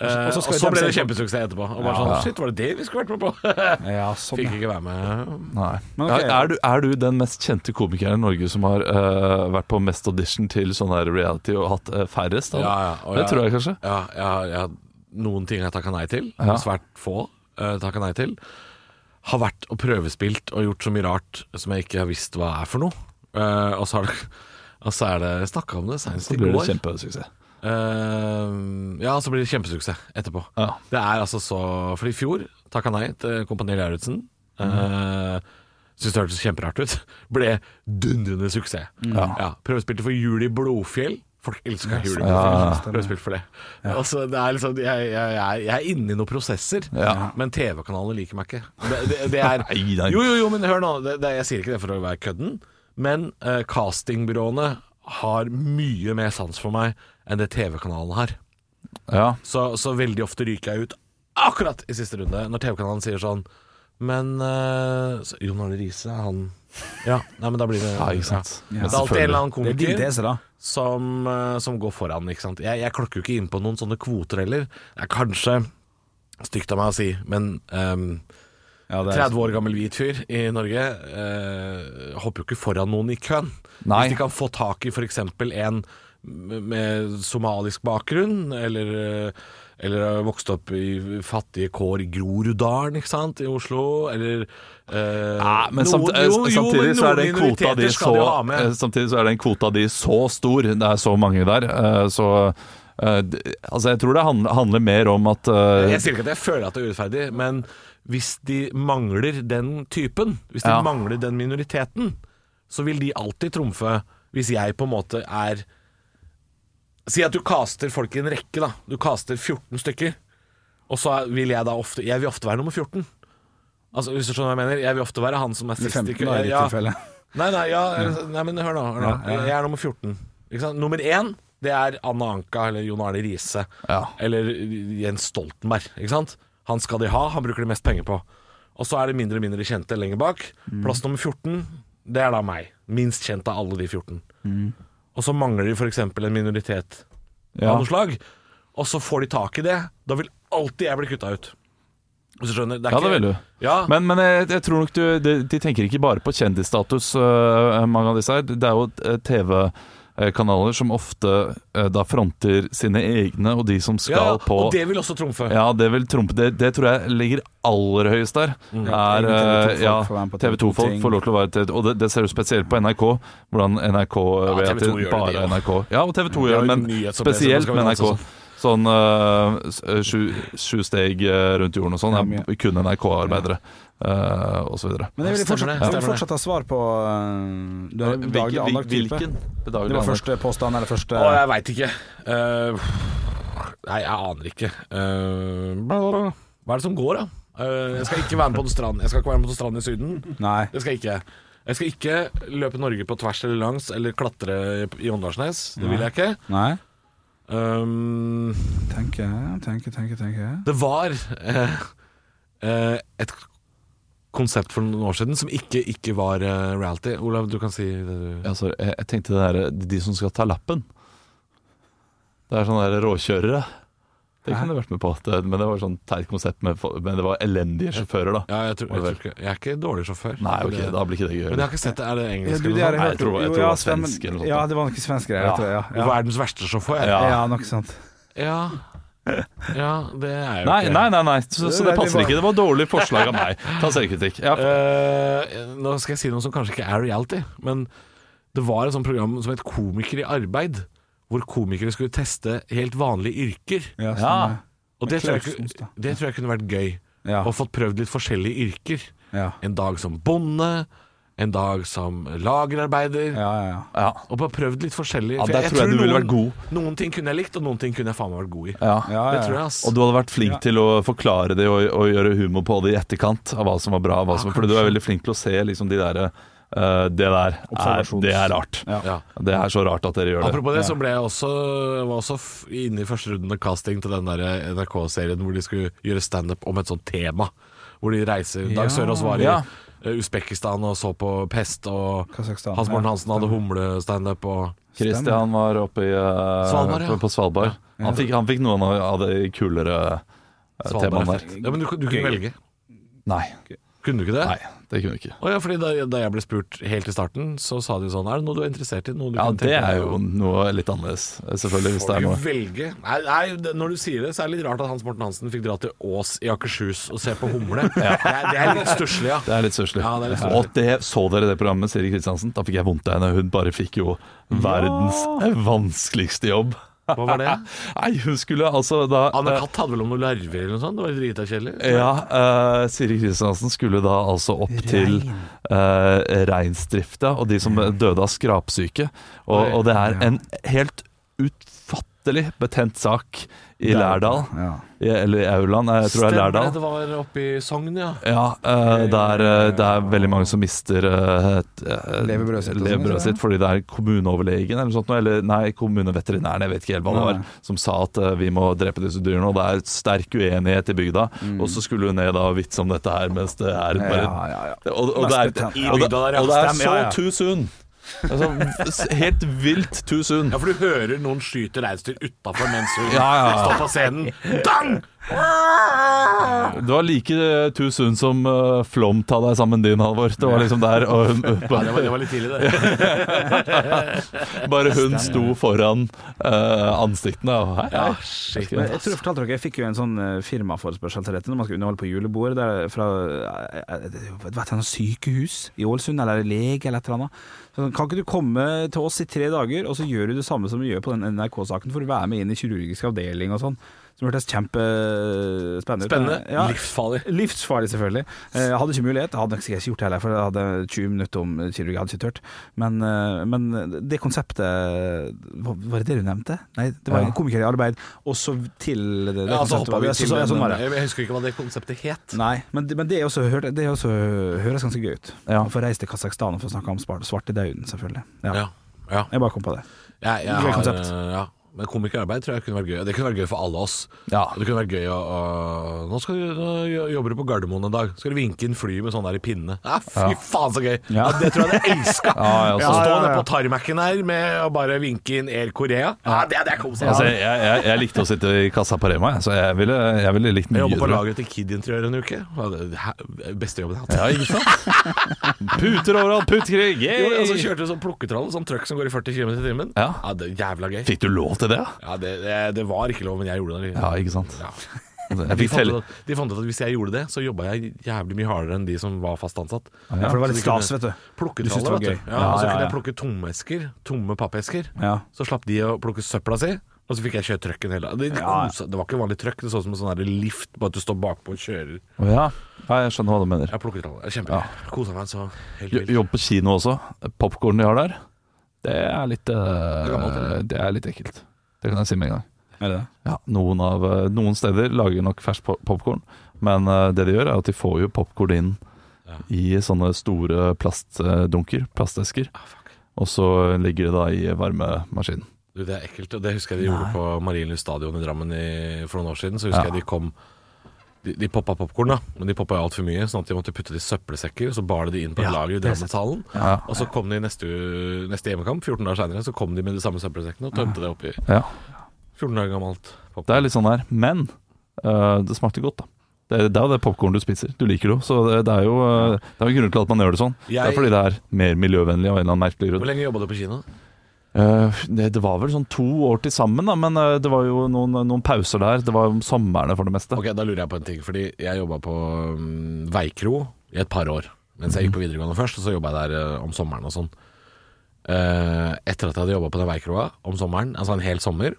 Speaker 1: Eh,
Speaker 2: Og
Speaker 1: og
Speaker 2: så
Speaker 1: så,
Speaker 2: skal de
Speaker 1: ble
Speaker 2: se
Speaker 1: det
Speaker 2: på-
Speaker 1: kjempesuksess etterpå. Og bare sånn, Shit, var det det vi skulle vært med på?
Speaker 2: Ja, sånn,
Speaker 1: Fikk
Speaker 2: ja.
Speaker 1: ikke være med.
Speaker 3: nei
Speaker 2: Men ok.
Speaker 3: er, er, du, er du den mest kjente komikeren i Norge som har eh, vært på mest audition til sånn her reality og hatt eh, færrest? av det?
Speaker 1: Ja, ja, og
Speaker 3: det
Speaker 1: jeg-
Speaker 3: tror jeg kanskje.
Speaker 1: Ja, jeg har, jeg har noen ting jeg takka nei til.
Speaker 3: Ja.
Speaker 1: Svært få uh, takka nei til. Har vært og prøvespilt og gjort så mye rart som jeg ikke har visst hva er for noe. Eh, og så har det og så er det snakka om det senest
Speaker 3: Så
Speaker 1: i
Speaker 3: blir det
Speaker 1: går.
Speaker 3: kjempesuksess.
Speaker 1: Eh, ja, så blir det kjempesuksess etterpå.
Speaker 3: Ja.
Speaker 1: Det er altså så For i fjor takka nei til Kompani Lauritzen.
Speaker 3: Mhm.
Speaker 1: Mm. Syntes det hørtes kjemperart ut. Ble dundrende suksess.
Speaker 3: Mm.
Speaker 1: Ja, prøvespilte for Jul i Blodfjell. Folk elsker Jul i Blodfjell. Prøvespilt for det. Altså, det er liksom, jeg, jeg, jeg, jeg er inne i noen prosesser,
Speaker 3: Ja.
Speaker 1: men TV-kanalene liker meg ikke. Det, det, det er,
Speaker 3: Nei, nei.
Speaker 1: Jo, jo, jo, men hør nå. Det, det, jeg sier ikke det for å være kødden, men eh, castingbyråene har mye mer sans for meg enn det TV-kanalen har.
Speaker 3: Ja.
Speaker 1: Så, så veldig ofte ryker jeg ut akkurat i siste runde, når TV-kanalen sier sånn Men eh, så, Jon Arne Riise, han Ja, nei, men da blir det
Speaker 3: ja, ikke sant.
Speaker 1: Ja.
Speaker 3: Men
Speaker 1: Det er alltid en eller annen
Speaker 2: Det er din
Speaker 1: komiker
Speaker 2: tese, da.
Speaker 1: som, eh, som går foran, ikke sant. Jeg, jeg klokker jo ikke inn på noen sånne kvoter heller. Det er kanskje stygt av meg å si, men ehm,
Speaker 2: Ja, det er-
Speaker 1: 30 år gammel hvit fyr i Norge eh, hopper jo ikke foran noen i køen.
Speaker 3: Nei.
Speaker 1: Hvis de kan få tak i f.eks. en m- med somalisk bakgrunn, eller, eh, eller har vokst opp i fattige kår i Groruddalen ikke sant, i Oslo, eller eh,
Speaker 3: Ja, men
Speaker 1: noen-
Speaker 3: samt, eh,
Speaker 1: jo, jo,
Speaker 3: samtidig,
Speaker 1: men
Speaker 3: så er
Speaker 1: noen
Speaker 3: den kvota
Speaker 1: minoriteter
Speaker 3: de
Speaker 1: skal jo
Speaker 3: så,
Speaker 1: ha med.
Speaker 3: eh, samtidig så er den kvota di så stor. Det er så mange der. eh, Så eh, d- Altså, jeg tror det handler, handler mer om at eh,
Speaker 1: Jeg sier ikke at jeg føler at det er urettferdig, men hvis de mangler den typen, hvis de
Speaker 3: Ja.
Speaker 1: mangler den minoriteten, så vil de alltid trumfe hvis jeg på en måte er Si at du caster folk i en rekke, da. Du caster 14 stykker. Og så er- vil jeg da ofte Jeg vil ofte være nummer 14. Altså, hvis du skjønner hva jeg mener? Jeg vil ofte være han som er
Speaker 2: Det er
Speaker 1: 60
Speaker 2: 15 år i ditt
Speaker 1: ja,
Speaker 2: tilfelle.
Speaker 1: Nei, nei, ja, nei men hør nå. Hør nå. Jeg er nummer 14. Ikke sant? Nummer én det er Anna Anka eller Jon Arne Riise
Speaker 3: Ja.
Speaker 1: eller Jens Stoltenberg. Ikke sant? Han skal de ha, han bruker de mest penger på. Og så er det mindre og mindre kjente lenger bak.
Speaker 3: Mm.
Speaker 1: Plass nummer 14, det er da meg. Minst kjent av alle de 14.
Speaker 3: Mm.
Speaker 1: Og så mangler de f.eks. en minoritet
Speaker 3: ja.
Speaker 1: av noe slag. Og så får de tak i det. Da vil alltid jeg bli kutta ut. Hvis du skjønner? er
Speaker 3: Ja, det
Speaker 1: ikke-
Speaker 3: vil du.
Speaker 1: Ja,
Speaker 3: Men, men jeg, jeg tror nok du de, de tenker ikke bare på kjendisstatus, øh, mange av disse her. Det er jo eh, TV-kanaler som ofte eh, da fronter sine egne, og de som
Speaker 1: ja,
Speaker 3: skal på
Speaker 1: Og det vil også trumfe.
Speaker 3: ja, det vil trumpe det, det tror jeg ligger aller høyest der. Er, eh, ja,
Speaker 2: får være med på
Speaker 3: TV2-folk
Speaker 2: ting.
Speaker 3: får lov til å være TV2 Og det, det ser du spesielt på NRK, hvordan NRK eh,
Speaker 1: Ja,
Speaker 3: ved at
Speaker 1: TV2 gjør det,
Speaker 3: bare
Speaker 1: de også.
Speaker 3: NRK. Ja, og TV2
Speaker 1: har jo
Speaker 3: gjør det, men
Speaker 1: nyhetsopplevelser, man
Speaker 3: spesielt
Speaker 1: skal
Speaker 3: med
Speaker 1: vel
Speaker 3: NRK.
Speaker 1: også
Speaker 3: Sånn eh, s- eh, sju, sju steg eh, rundt jorden og sånn.
Speaker 2: Ja,
Speaker 3: er kun NRK-arbeidere eh, og så videre.
Speaker 2: Men jeg vil
Speaker 1: Stemmer det,
Speaker 2: fortsatt, jeg vil
Speaker 1: stemmer det.
Speaker 2: fortsatt ha svar på øh, du er
Speaker 3: Hvilken-
Speaker 2: daglig
Speaker 3: hvil-
Speaker 2: anlagt type.
Speaker 3: Hvilken?
Speaker 2: Det var første påstand, eller første
Speaker 1: Å, jeg veit ikke. Eh, nei, jeg aner ikke. Eh, bla, bla, bla. hva er det som går, da? Eh, jeg skal ikke være med på noen strand Jeg skal ikke være med på noen strand i Syden.
Speaker 2: Nei.
Speaker 1: Det skal jeg ikke. Jeg skal ikke løpe Norge på tvers eller langs eller klatre i Åndalsnes. Det vil jeg ikke.
Speaker 2: Nei.
Speaker 1: Um,
Speaker 2: Tenke, tenke, tenke, tenke.
Speaker 1: det var eh, eh, et konsept for noen år siden som ikke ikke var eh, reality. Olav, du kan si det du
Speaker 3: Ja, sorry, Altså, jeg, jeg tenkte det der, de som skal ta lappen. Det er sånne der råkjørere. Det kunne jeg vært med på, det, men det var sånn teit konsept. Med, fo- men det var elendige sjåfører, da.
Speaker 1: Ja, jeg, tror, jeg, tror ikke, jeg er ikke dårlig sjåfør.
Speaker 3: Nei, ok, da blir ikke det gøy.
Speaker 1: Men jeg har ikke sett det. Er det
Speaker 2: Ja,
Speaker 1: engelsk
Speaker 2: du, det har
Speaker 1: eller noe sånt?
Speaker 2: jeg hørt
Speaker 3: Nei, jeg tror-
Speaker 2: Jo,
Speaker 3: jeg tror det
Speaker 2: ja,
Speaker 3: var
Speaker 2: stemmer.
Speaker 3: svensk eller noe sånt.
Speaker 2: Ja, det var noen svenske greier,
Speaker 3: Ja.
Speaker 2: jeg tror jeg. Ja.
Speaker 1: Verdens verste sjåfør.
Speaker 3: Ja.
Speaker 2: Ja. ja, noe sånt.
Speaker 1: ja. Ja, det er jo
Speaker 3: Nei,
Speaker 1: ikke
Speaker 3: nei, nei, nei. Så, så det
Speaker 2: Nei, det
Speaker 3: passer
Speaker 2: var-
Speaker 3: ikke. Det var dårlig forslag av meg. Ta selvkritikk. Ja,
Speaker 1: Eh, nå skal jeg si noe som kanskje ikke er reality, men det var et sånt program som het Komiker i arbeid, hvor komikere skulle teste helt vanlige yrker.
Speaker 2: Ja,
Speaker 3: Ja.
Speaker 2: sånn,
Speaker 1: Og det tror, jeg,
Speaker 2: Clausens, da.
Speaker 1: ku- det tror jeg kunne vært gøy.
Speaker 2: Ja.
Speaker 1: Og fått prøvd litt forskjellige yrker.
Speaker 2: ja.
Speaker 1: En dag som bonde, en dag som lagerarbeider.
Speaker 2: Ja, ja, ja.
Speaker 3: ja.
Speaker 1: Og bare prøvd litt forskjellig.
Speaker 3: Ja,
Speaker 1: For
Speaker 3: der tror jeg du ville vært god.
Speaker 1: Noen ting kunne jeg likt, og noen ting kunne jeg faen meg vært god i.
Speaker 3: ja.
Speaker 2: ja,
Speaker 1: Det
Speaker 2: ja,
Speaker 1: tror
Speaker 2: ja.
Speaker 1: jeg, ass.
Speaker 3: Og du hadde vært flink til å forklare det og, og gjøre humor på det i etterkant. Av hva som var bra og hva som, Fordi du er veldig flink til å se liksom de der eh, Det der er,
Speaker 2: Observasjons-
Speaker 3: det er rart.
Speaker 2: Ja.
Speaker 1: ja.
Speaker 3: Det er så rart at dere gjør det.
Speaker 1: Apropos det, så ble jeg også, var også f- inne i første runden av casting til den der eh, NRK-serien hvor de skulle gjøre standup om et sånt tema. Hvor de reiser Dag Sørås var i
Speaker 3: Ja.
Speaker 1: eh, Usbekistan og så på pest, og
Speaker 2: Kasakhstan,
Speaker 1: Hans Morten
Speaker 2: ja.
Speaker 1: Hansen hadde humlestandup og
Speaker 3: Christian var oppe i, eh,
Speaker 1: Svalbard, ja.
Speaker 3: på- på Svalbard. Han, fikk, han fikk noen av- av de kulere eh, temaene
Speaker 1: Svalbard-effekt.
Speaker 3: der.
Speaker 1: Ja, men du, du kunne velge.
Speaker 3: Nei,
Speaker 1: Kunne du ikke det?
Speaker 3: nei, det kunne vi ikke.
Speaker 1: Å ja, fordi da, da jeg ble spurt helt i starten, så sa de sånn Er det noe du er interessert i? Noe du
Speaker 3: Ja,
Speaker 1: kunne
Speaker 3: det
Speaker 1: tenke
Speaker 3: er
Speaker 1: deg
Speaker 3: jo
Speaker 1: å-
Speaker 3: noe litt annerledes, eh, selvfølgelig. Hvis det
Speaker 1: Får
Speaker 3: er
Speaker 1: du
Speaker 3: noe
Speaker 1: velge? Nei, nei det, når du sier det, så er det litt rart at Hans Morten Hansen fikk dra til Ås i Akershus og se på humle. det, er, det er litt stusslig, ja.
Speaker 3: Det er litt stusslig.
Speaker 1: Ja, det er litt stusslig.
Speaker 3: og det så dere det programmet med Siri Kristiansen? Da fikk jeg vondt av henne. Hun bare fikk jo verdens vanskeligste jobb.
Speaker 1: Hva var det?
Speaker 3: Nei, hun skulle altså da
Speaker 1: Anne Katt hadde vel om noen larver eller noe sånt? Det var drita kjedelig.
Speaker 3: eh, Ja, eh, Siri Kristiansen skulle da altså opp til eh, reinsdrifta og de som døde av skrapsyke. Og,
Speaker 1: Oi.
Speaker 3: og det er en helt utfattelig betent sak i Lærdal.
Speaker 2: Ja.
Speaker 3: i- Eller i Auland, eh, jeg tror det er
Speaker 1: Stemmer
Speaker 3: Lærdal.
Speaker 1: det, det var oppe i Sogn, ja.
Speaker 3: Ja, eh, det er, eh, det er veldig mange som mister eh, et, eh,
Speaker 2: Levebrødet sitt og sånn,
Speaker 3: levebrødet
Speaker 2: ikke
Speaker 3: sitt fordi det er kommuneoverlegen eller noe sånt, noe, eller nei, kommuneveterinæren, jeg vet ikke helt hva det var,
Speaker 2: Nei.
Speaker 3: som sa at eh, vi må drepe disse dyrene, og det er sterk uenighet i bygda. Og så skulle hun ned da og vitse om dette her, mens det er bare
Speaker 2: Mm. Ja, ja, ja.
Speaker 3: Og, og, det, er,
Speaker 2: Mest betent.
Speaker 3: og, det,
Speaker 1: der, ja.
Speaker 3: og det er
Speaker 2: Stem,
Speaker 3: så
Speaker 2: ja, ja.
Speaker 3: too soon! Altså, helt vilt too soon.
Speaker 1: Ja, for du hører noen skyte reinsdyr utafor mens hun
Speaker 3: Ja, ja, ja.
Speaker 1: står på scenen. Dang!
Speaker 3: Det var like eh, too soon som eh, Flom ta deg sammen din, Halvor. Det var liksom der og
Speaker 1: Ja, det var, det var litt tidlig, det.
Speaker 3: Bare hun sto foran eh, ansiktene. Og, hei, hei.
Speaker 1: shit.
Speaker 2: Men jeg tror jeg fortalte dere, jeg fikk jo en sånn eh, firmaforespørsel til dette når man skal underholde på julebordet der fra eh, eh, vet du, noe sykehus i Ålesund, eller lege eller et eller annet. Så, sånn, kan ikke du komme til oss i tre dager, og så gjør du det samme som du gjør på den NRK-saken, for å være med inn i kirurgisk avdeling og sånn. Som hørtes kjempespennende ut.
Speaker 1: Spennende.
Speaker 2: Ja.
Speaker 1: Livsfarlig.
Speaker 2: Livsfarlig, selvfølgelig. Eh, Jeg hadde ikke mulighet. Jeg hadde nok sikkert ikke gjort det heller, for jeg hadde 20 minutter om kirurgi. Jeg hadde ikke tørt. Men, eh, men det konseptet hva- Var det det du nevnte? Nei, det var
Speaker 3: Ja.
Speaker 2: komiker i arbeid, og så til det, det
Speaker 1: Ja, så
Speaker 2: konseptet
Speaker 1: Altså, hoppa
Speaker 2: var-
Speaker 1: vi
Speaker 2: Ja, så-
Speaker 1: til
Speaker 2: så- ja, sånn var
Speaker 1: den.
Speaker 2: det.
Speaker 1: Jeg husker ikke hva det konseptet het.
Speaker 2: Nei, men, det- men det, er også, hørt- det er også, høres ganske gøy ut.
Speaker 3: Ja.
Speaker 2: Å få reise til Kasakhstan og få snakke om spar- svartedauden, selvfølgelig. Ja.
Speaker 1: Ja, ja.
Speaker 2: Jeg bare kom på det.
Speaker 1: Jeg, jeg
Speaker 2: Gøy
Speaker 1: har,
Speaker 2: konsept.
Speaker 1: eh, ja. Men komikerarbeid tror jeg kunne vært gøy. Og Det kunne vært gøy for alle oss.
Speaker 3: Ja.
Speaker 1: Det kunne vært gøy å, å Nå skal du nå jo- jobber du på Gardermoen en dag. Skal du vinke inn fly med sånn der i pinne. Ja, fy faen, så gøy! Ja.
Speaker 2: Ja.
Speaker 1: det tror jeg hadde elska.
Speaker 3: Ja, altså, jeg
Speaker 1: Så
Speaker 3: også.
Speaker 1: stå
Speaker 2: Ja, ja, ja.
Speaker 1: nede på tarmacken her med å bare vinke inn Air Korea. Ja, det, det er kos.
Speaker 3: Altså,
Speaker 1: Altså,
Speaker 3: jeg, jeg, jeg likte å sitte i kassa på Rema, jeg, så jeg ville, jeg ville likt
Speaker 1: jeg
Speaker 3: mye.
Speaker 1: jobba på
Speaker 3: tror jeg.
Speaker 1: lageret til Kid Interiør en uke. Ja, det- hæ- Beste jobben jeg har hatt.
Speaker 3: Ja, ikke sant? Puter overalt, putekrig!
Speaker 1: Jo, og så
Speaker 3: Yay!
Speaker 1: kjørte du sånn plukketrall, sånn trøkk som går i 40 km i timen.
Speaker 3: Ja.
Speaker 1: det er Jævla gøy.
Speaker 3: Fikk du lov til det?
Speaker 1: Ja, det, det, det var ikke lov, men jeg gjorde det.
Speaker 3: Ja, ikke sant? Altså,
Speaker 1: Ja.
Speaker 3: Jeg
Speaker 1: De
Speaker 3: fikk
Speaker 1: fant,
Speaker 3: telle.
Speaker 1: ut at, de fant ut at hvis jeg gjorde det, så jobba jeg jævlig mye hardere enn de som var fast ansatt.
Speaker 2: Ja, for det var litt
Speaker 1: så vi kunne
Speaker 2: stas, vet du.
Speaker 1: Plukket
Speaker 2: Du syntes
Speaker 1: alle,
Speaker 2: det var
Speaker 1: vet du.
Speaker 2: gøy.
Speaker 1: Ja, altså,
Speaker 2: Ja,
Speaker 1: og så
Speaker 2: ja,
Speaker 1: kunne jeg
Speaker 2: ja.
Speaker 1: plukke tomesker, tomme pappesker.
Speaker 2: Ja.
Speaker 1: Så slapp de å plukke søpla si. Og Og så fikk jeg kjørt trucken hele det, det,
Speaker 2: Ja, ja.
Speaker 1: osa- det var ikke en vanlig truck, det så ut som en sånn her lift, bare at du står bakpå og kjører.
Speaker 3: Å ja. ja, jeg skjønner hva du mener.
Speaker 1: Jeg plukket alle. Kjempegøy. Kosa meg så helt
Speaker 3: Jo-
Speaker 1: vilt.
Speaker 3: Jobb på kino også. Popkorn de har der, det er litt eh,
Speaker 1: Det er gammelt,
Speaker 3: Det er litt ekkelt. Det kan jeg si med en gang.
Speaker 2: Er det det?
Speaker 3: Ja, noen, av, eh, noen steder lager nok fersk popkorn, men eh, det de gjør, er at de får jo popkorn inn
Speaker 1: Ja.
Speaker 3: i sånne store plastdunker, plastesker,
Speaker 1: Ah, fuck.
Speaker 3: og så ligger det da i varmemaskinen.
Speaker 1: Du, det er ekkelt, og det husker jeg de gjorde på Marienlyst stadion i Drammen i, for noen år siden. Så husker
Speaker 3: Ja.
Speaker 1: jeg de kom De, de poppa popkorn, da, men de poppa altfor mye, sånn at de måtte putte det i søppelsekker. Så bar de det inn på et
Speaker 2: Ja,
Speaker 1: lager i
Speaker 2: det har jeg
Speaker 1: Drammenshallen.
Speaker 3: Ja.
Speaker 1: Og så kom de i neste, u- neste hjemmekamp, 14 dager seinere, så kom de med de samme søppelsekkene og tømte det oppi.
Speaker 3: Ja.
Speaker 1: 14 dager gammelt popcorn.
Speaker 3: Det er litt sånn der, men eh, det smakte godt, da. Det er, det er jo det popkorn du spiser. Du liker det jo, så det, det er jo eh, Det er jo grunnen til at man gjør det sånn. Det
Speaker 1: Jeg-
Speaker 3: er fordi det er mer miljøvennlig av en eller annen merkelig grunn.
Speaker 1: Hvor lenge jobba du på kino?
Speaker 3: Eh, det, det var vel sånn to år til sammen, da, men eh, det var jo noen, noen pauser der. Det var om somrene for det meste.
Speaker 1: Ok, Da lurer jeg på en ting. Fordi jeg jobba på mm, Veikro i et par år. Mens jeg gikk
Speaker 3: Mhm.
Speaker 1: på videregående først, og så jobba jeg der eh, om sommeren og sånn. Eh, etter at jeg hadde jobba på den veikroa om sommeren, altså en hel sommer,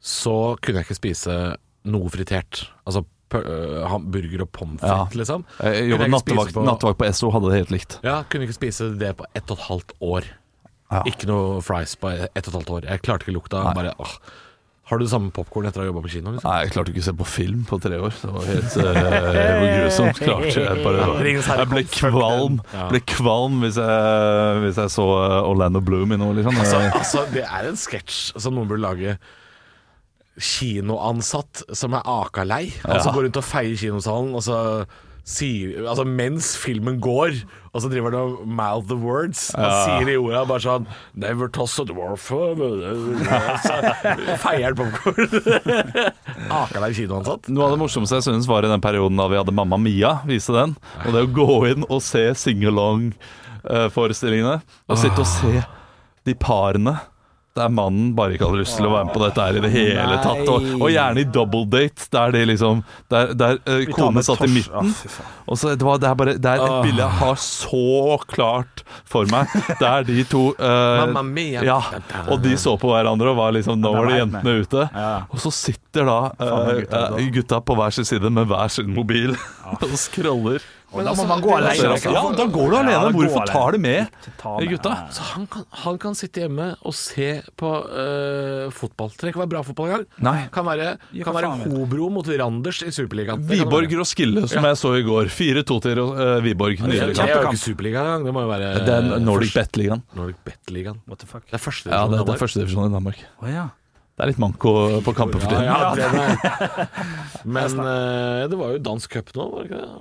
Speaker 1: så kunne jeg ikke spise noe fritert. Altså pø- eh, ham- burger og pommes
Speaker 3: Ja.
Speaker 1: frites, liksom.
Speaker 3: Jeg
Speaker 1: Kunne
Speaker 3: jobbet
Speaker 1: jeg ikke spise
Speaker 3: nattevakt
Speaker 1: på-
Speaker 3: på, nattevakt på SO, hadde det helt likt.
Speaker 1: Ja, kunne ikke spise det på ett og et halvt år.
Speaker 3: Ja.
Speaker 1: Ikke noe fries på ett og et halvt år. Jeg klarte ikke lukta. Bare, åh. Har du det samme popkorn etter å ha jobba på kino? Liksom?
Speaker 3: Nei, jeg klarte ikke å se på film på tre år. Det var helt eh, grusomt. Klarte jeg bare Jeg ble kvalm
Speaker 1: Ja.
Speaker 3: Ble kvalm hvis jeg, hvis jeg så eh, Orlando Bloom i noe, liksom.
Speaker 1: Altså,
Speaker 3: Eh,
Speaker 1: altså, det er en sketsj som noen burde lage. Kinoansatt som er akalei, og så
Speaker 3: Ja.
Speaker 1: går rundt og feier kinosalen, og så sier Altså mens filmen går, og så driver han og mouth the words. Han sier de orda bare sånn Never toss a dwarf Så Feier han popkorn. akalei kinoansatt.
Speaker 3: Noe av det morsomste jeg synes var i den perioden da vi hadde Mamma Mia, viste den. Og det å gå inn og se sing-along-forestillingene. Og sitte og se de parene der mannen bare ikke hadde lyst til å være med på dette her i det hele tatt. Og, og gjerne i double date, der de liksom Der, der eh, kone satt i midten. Og så, det, var, det, er bare, det er et bilde jeg har så klart for meg. Der de to eh,
Speaker 1: Mamma Mia.
Speaker 3: Ja, Og de så på hverandre og var liksom Nå
Speaker 2: Ja,
Speaker 3: var det
Speaker 2: det var
Speaker 3: jentene ute.
Speaker 2: Ja.
Speaker 3: Og så sitter da
Speaker 2: Faen,
Speaker 3: eh,
Speaker 2: gutta, da.
Speaker 3: eh, gutta på hver sin side med hver sin mobil og scroller.
Speaker 2: Da må man gå alene.
Speaker 1: altså,
Speaker 3: ja, da går du
Speaker 2: Ja,
Speaker 3: alene.
Speaker 2: da går
Speaker 3: Hvorfor
Speaker 2: alene.
Speaker 3: tar det med
Speaker 2: Ta
Speaker 3: eh, gutta?
Speaker 2: Ja, ja.
Speaker 1: Så han kan, han kan sitte hjemme og se på øh, fotball. Det trenger ikke være bra fotball engang.
Speaker 3: Nei.
Speaker 1: Kan være,
Speaker 2: Ja,
Speaker 1: kan
Speaker 2: for
Speaker 1: være
Speaker 2: faen, vet
Speaker 1: Hobro mot Randers i Superligaen. Det kan
Speaker 3: Viborg
Speaker 1: være.
Speaker 3: Roskilde, som jeg så i går. 4-2 til eh, Viborg.
Speaker 1: Det er
Speaker 3: Nydelig
Speaker 1: jo det er
Speaker 3: kamp.
Speaker 1: jo ikke Superligaen engang. Det må jo være
Speaker 3: Den Nordic
Speaker 1: første-
Speaker 3: Bet-ligaen.
Speaker 1: Nordic Bet-ligaen.
Speaker 2: What the fuck?
Speaker 1: Det er første
Speaker 3: Ja, det,
Speaker 1: divisjon
Speaker 3: det
Speaker 1: i
Speaker 3: er førstedivisjon i Danmark.
Speaker 2: Å ja.
Speaker 3: Det er litt manko på kamper for
Speaker 1: Danmark. Ja,
Speaker 3: tiden.
Speaker 1: ja, den er- Men øh, det var jo dansk cup nå, var det ikke det?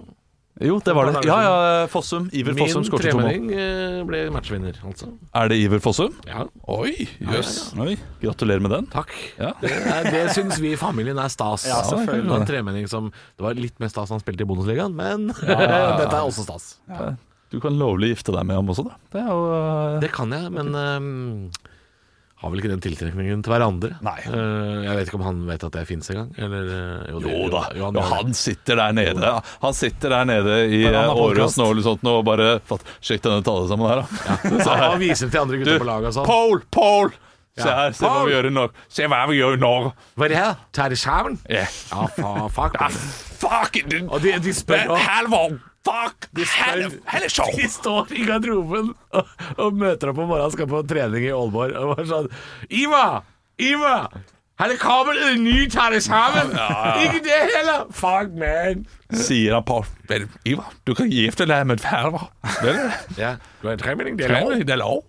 Speaker 3: Jo, det var det. Ja, ja, eh, Fossum. Iver
Speaker 1: Min
Speaker 3: Fossum skåret to mål.
Speaker 1: tremelding øh, ble matchvinner, altså.
Speaker 3: Er det Iver Fossum?
Speaker 1: Ja,
Speaker 3: Oi, jøss.
Speaker 2: Oi.
Speaker 3: Gratulerer med den.
Speaker 1: takk.
Speaker 3: Ja.
Speaker 1: Det, er- det syns vi i familien er stas.
Speaker 2: Ja,
Speaker 1: Det
Speaker 2: selvfølgelig.
Speaker 1: var en tremenning som Det var litt mer stas han spilte i Bundesligaen, men dette er også stas.
Speaker 3: Du kan lovlig gifte deg med ham også, da. Det er jo eh,
Speaker 1: Det kan jeg, men ehm, har vel ikke den tiltrekningen til hverandre.
Speaker 3: Nei.
Speaker 1: Eh, jeg vet ikke om han vet at jeg fins engang. Eller eh, det-
Speaker 3: Jo da,
Speaker 1: jo, han
Speaker 3: jo,
Speaker 1: gjør det.
Speaker 3: han sitter der nede Han sitter der nede i
Speaker 2: På en annen
Speaker 3: Åråsen
Speaker 2: podcast.
Speaker 3: og sånt nå og bare fatt, Sjekk denne tale sammen her, da.
Speaker 1: Så han viser til andre gutter på laget og sånn.
Speaker 3: Pol, Pol! Se
Speaker 1: Ja.
Speaker 3: her, se hva
Speaker 1: Pol!
Speaker 3: vi gjør i Norge. Se hva vi gjør i Norge.
Speaker 1: Hva er det her? Tar i skjermen?
Speaker 3: Yeah.
Speaker 1: Ja, fa fuck.
Speaker 3: Fuck it!
Speaker 1: Og de, de spør og
Speaker 3: Halvor! Fuck!
Speaker 1: spør-
Speaker 3: Helle- Helle show!
Speaker 1: De står i garderoben og, og møter opp om morgenen, skal på trening i Aalborg, og bare sånn Iva! Iva! Her det kommer en ny Tar i skjermen! Ikke det heller! Fuck, man!
Speaker 3: Sier han Pol. Vel, Ivar, du kan gifte deg med Halvor. Vel,
Speaker 1: Ja, du har en tremenning, det er lov.
Speaker 3: det er lov.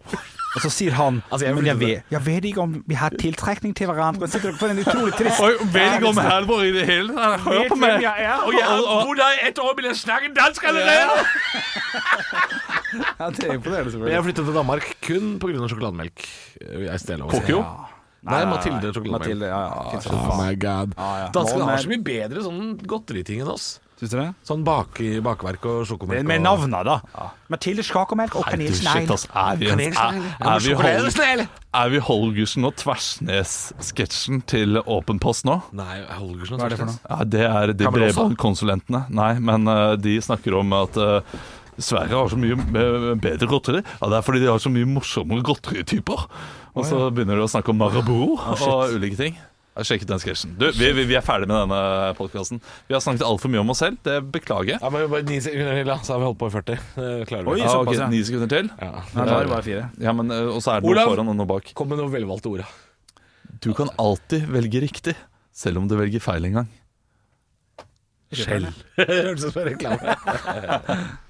Speaker 2: Og så sier han
Speaker 1: Altså, jeg
Speaker 2: Men jeg
Speaker 1: flytter-
Speaker 2: vet, jeg vet ikke om vi har tiltrekning til hverandre. Sitter dere for en utrolig trist
Speaker 3: Og jeg vet ikke om Halvor i det hele tatt. Hør på meg.
Speaker 1: Og
Speaker 3: jeg har
Speaker 1: bodd her i ett år, men jeg snakker dansk
Speaker 2: Ja, det er imponerende,
Speaker 1: Jeg
Speaker 2: selvfølgelig.
Speaker 1: flyttet til Danmark kun pga. sjokolademelk. eh, Jeg stjeler også.
Speaker 3: Kokio?
Speaker 1: Nei, Mathilde sjokolademelk.
Speaker 2: Mathilde, ja, ja. Fint,
Speaker 1: Oh my god.
Speaker 2: ja.
Speaker 1: Danskene har
Speaker 2: Morgen.
Speaker 1: så mye bedre sånn godteriting enn oss.
Speaker 2: Syns du det?
Speaker 1: Sånn bak, bakverk og sjokomelk.
Speaker 2: Med
Speaker 1: og-
Speaker 2: navna, da. Mathilde Skakermelk og
Speaker 3: Nei, du,
Speaker 2: Kanelsnegl.
Speaker 3: shit, ass. Er vi, en, er,
Speaker 1: Kanelsnegl. Ja,
Speaker 3: er vi,
Speaker 1: sjokoladesnegl.
Speaker 3: Hol er vi Holgersen og Tversnes-sketsjen til Åpen post nå?
Speaker 1: Nei, Holgersen
Speaker 2: Hva er det for noe?
Speaker 3: Ja, det er de
Speaker 1: Kan vel også?
Speaker 3: bredbåndkonsulentene. Nei, men eh, de snakker om at eh, Sverige har så mye eh, bedre godteri. Ja, det er fordi de har så mye morsommere godterityper. Og så begynner de å snakke om Marabou og ulike ting. Ja, Sjekk ut den sketsjen. Du, vi, vi, vi er ferdig med denne podkasten. Vi har snakket altfor mye om oss selv. Det beklager jeg.
Speaker 1: Ja, men bare ni sekunder til, da, så har vi holdt på i 40. Det klarer vi.
Speaker 2: Oi.
Speaker 1: Ja.
Speaker 3: Ja, ok,
Speaker 2: såpass, ja.
Speaker 3: Ni sekunder til.
Speaker 2: Nei, da er det bare fire.
Speaker 3: Ja, men, eh, og så er det noe
Speaker 1: Olav.
Speaker 3: foran og noe bak.
Speaker 1: Kom med noen velvalgte ord. da.
Speaker 3: Du kan alltid velge riktig, selv om du velger feil en gang.
Speaker 1: Skjell. Hørtes ut som en reklame.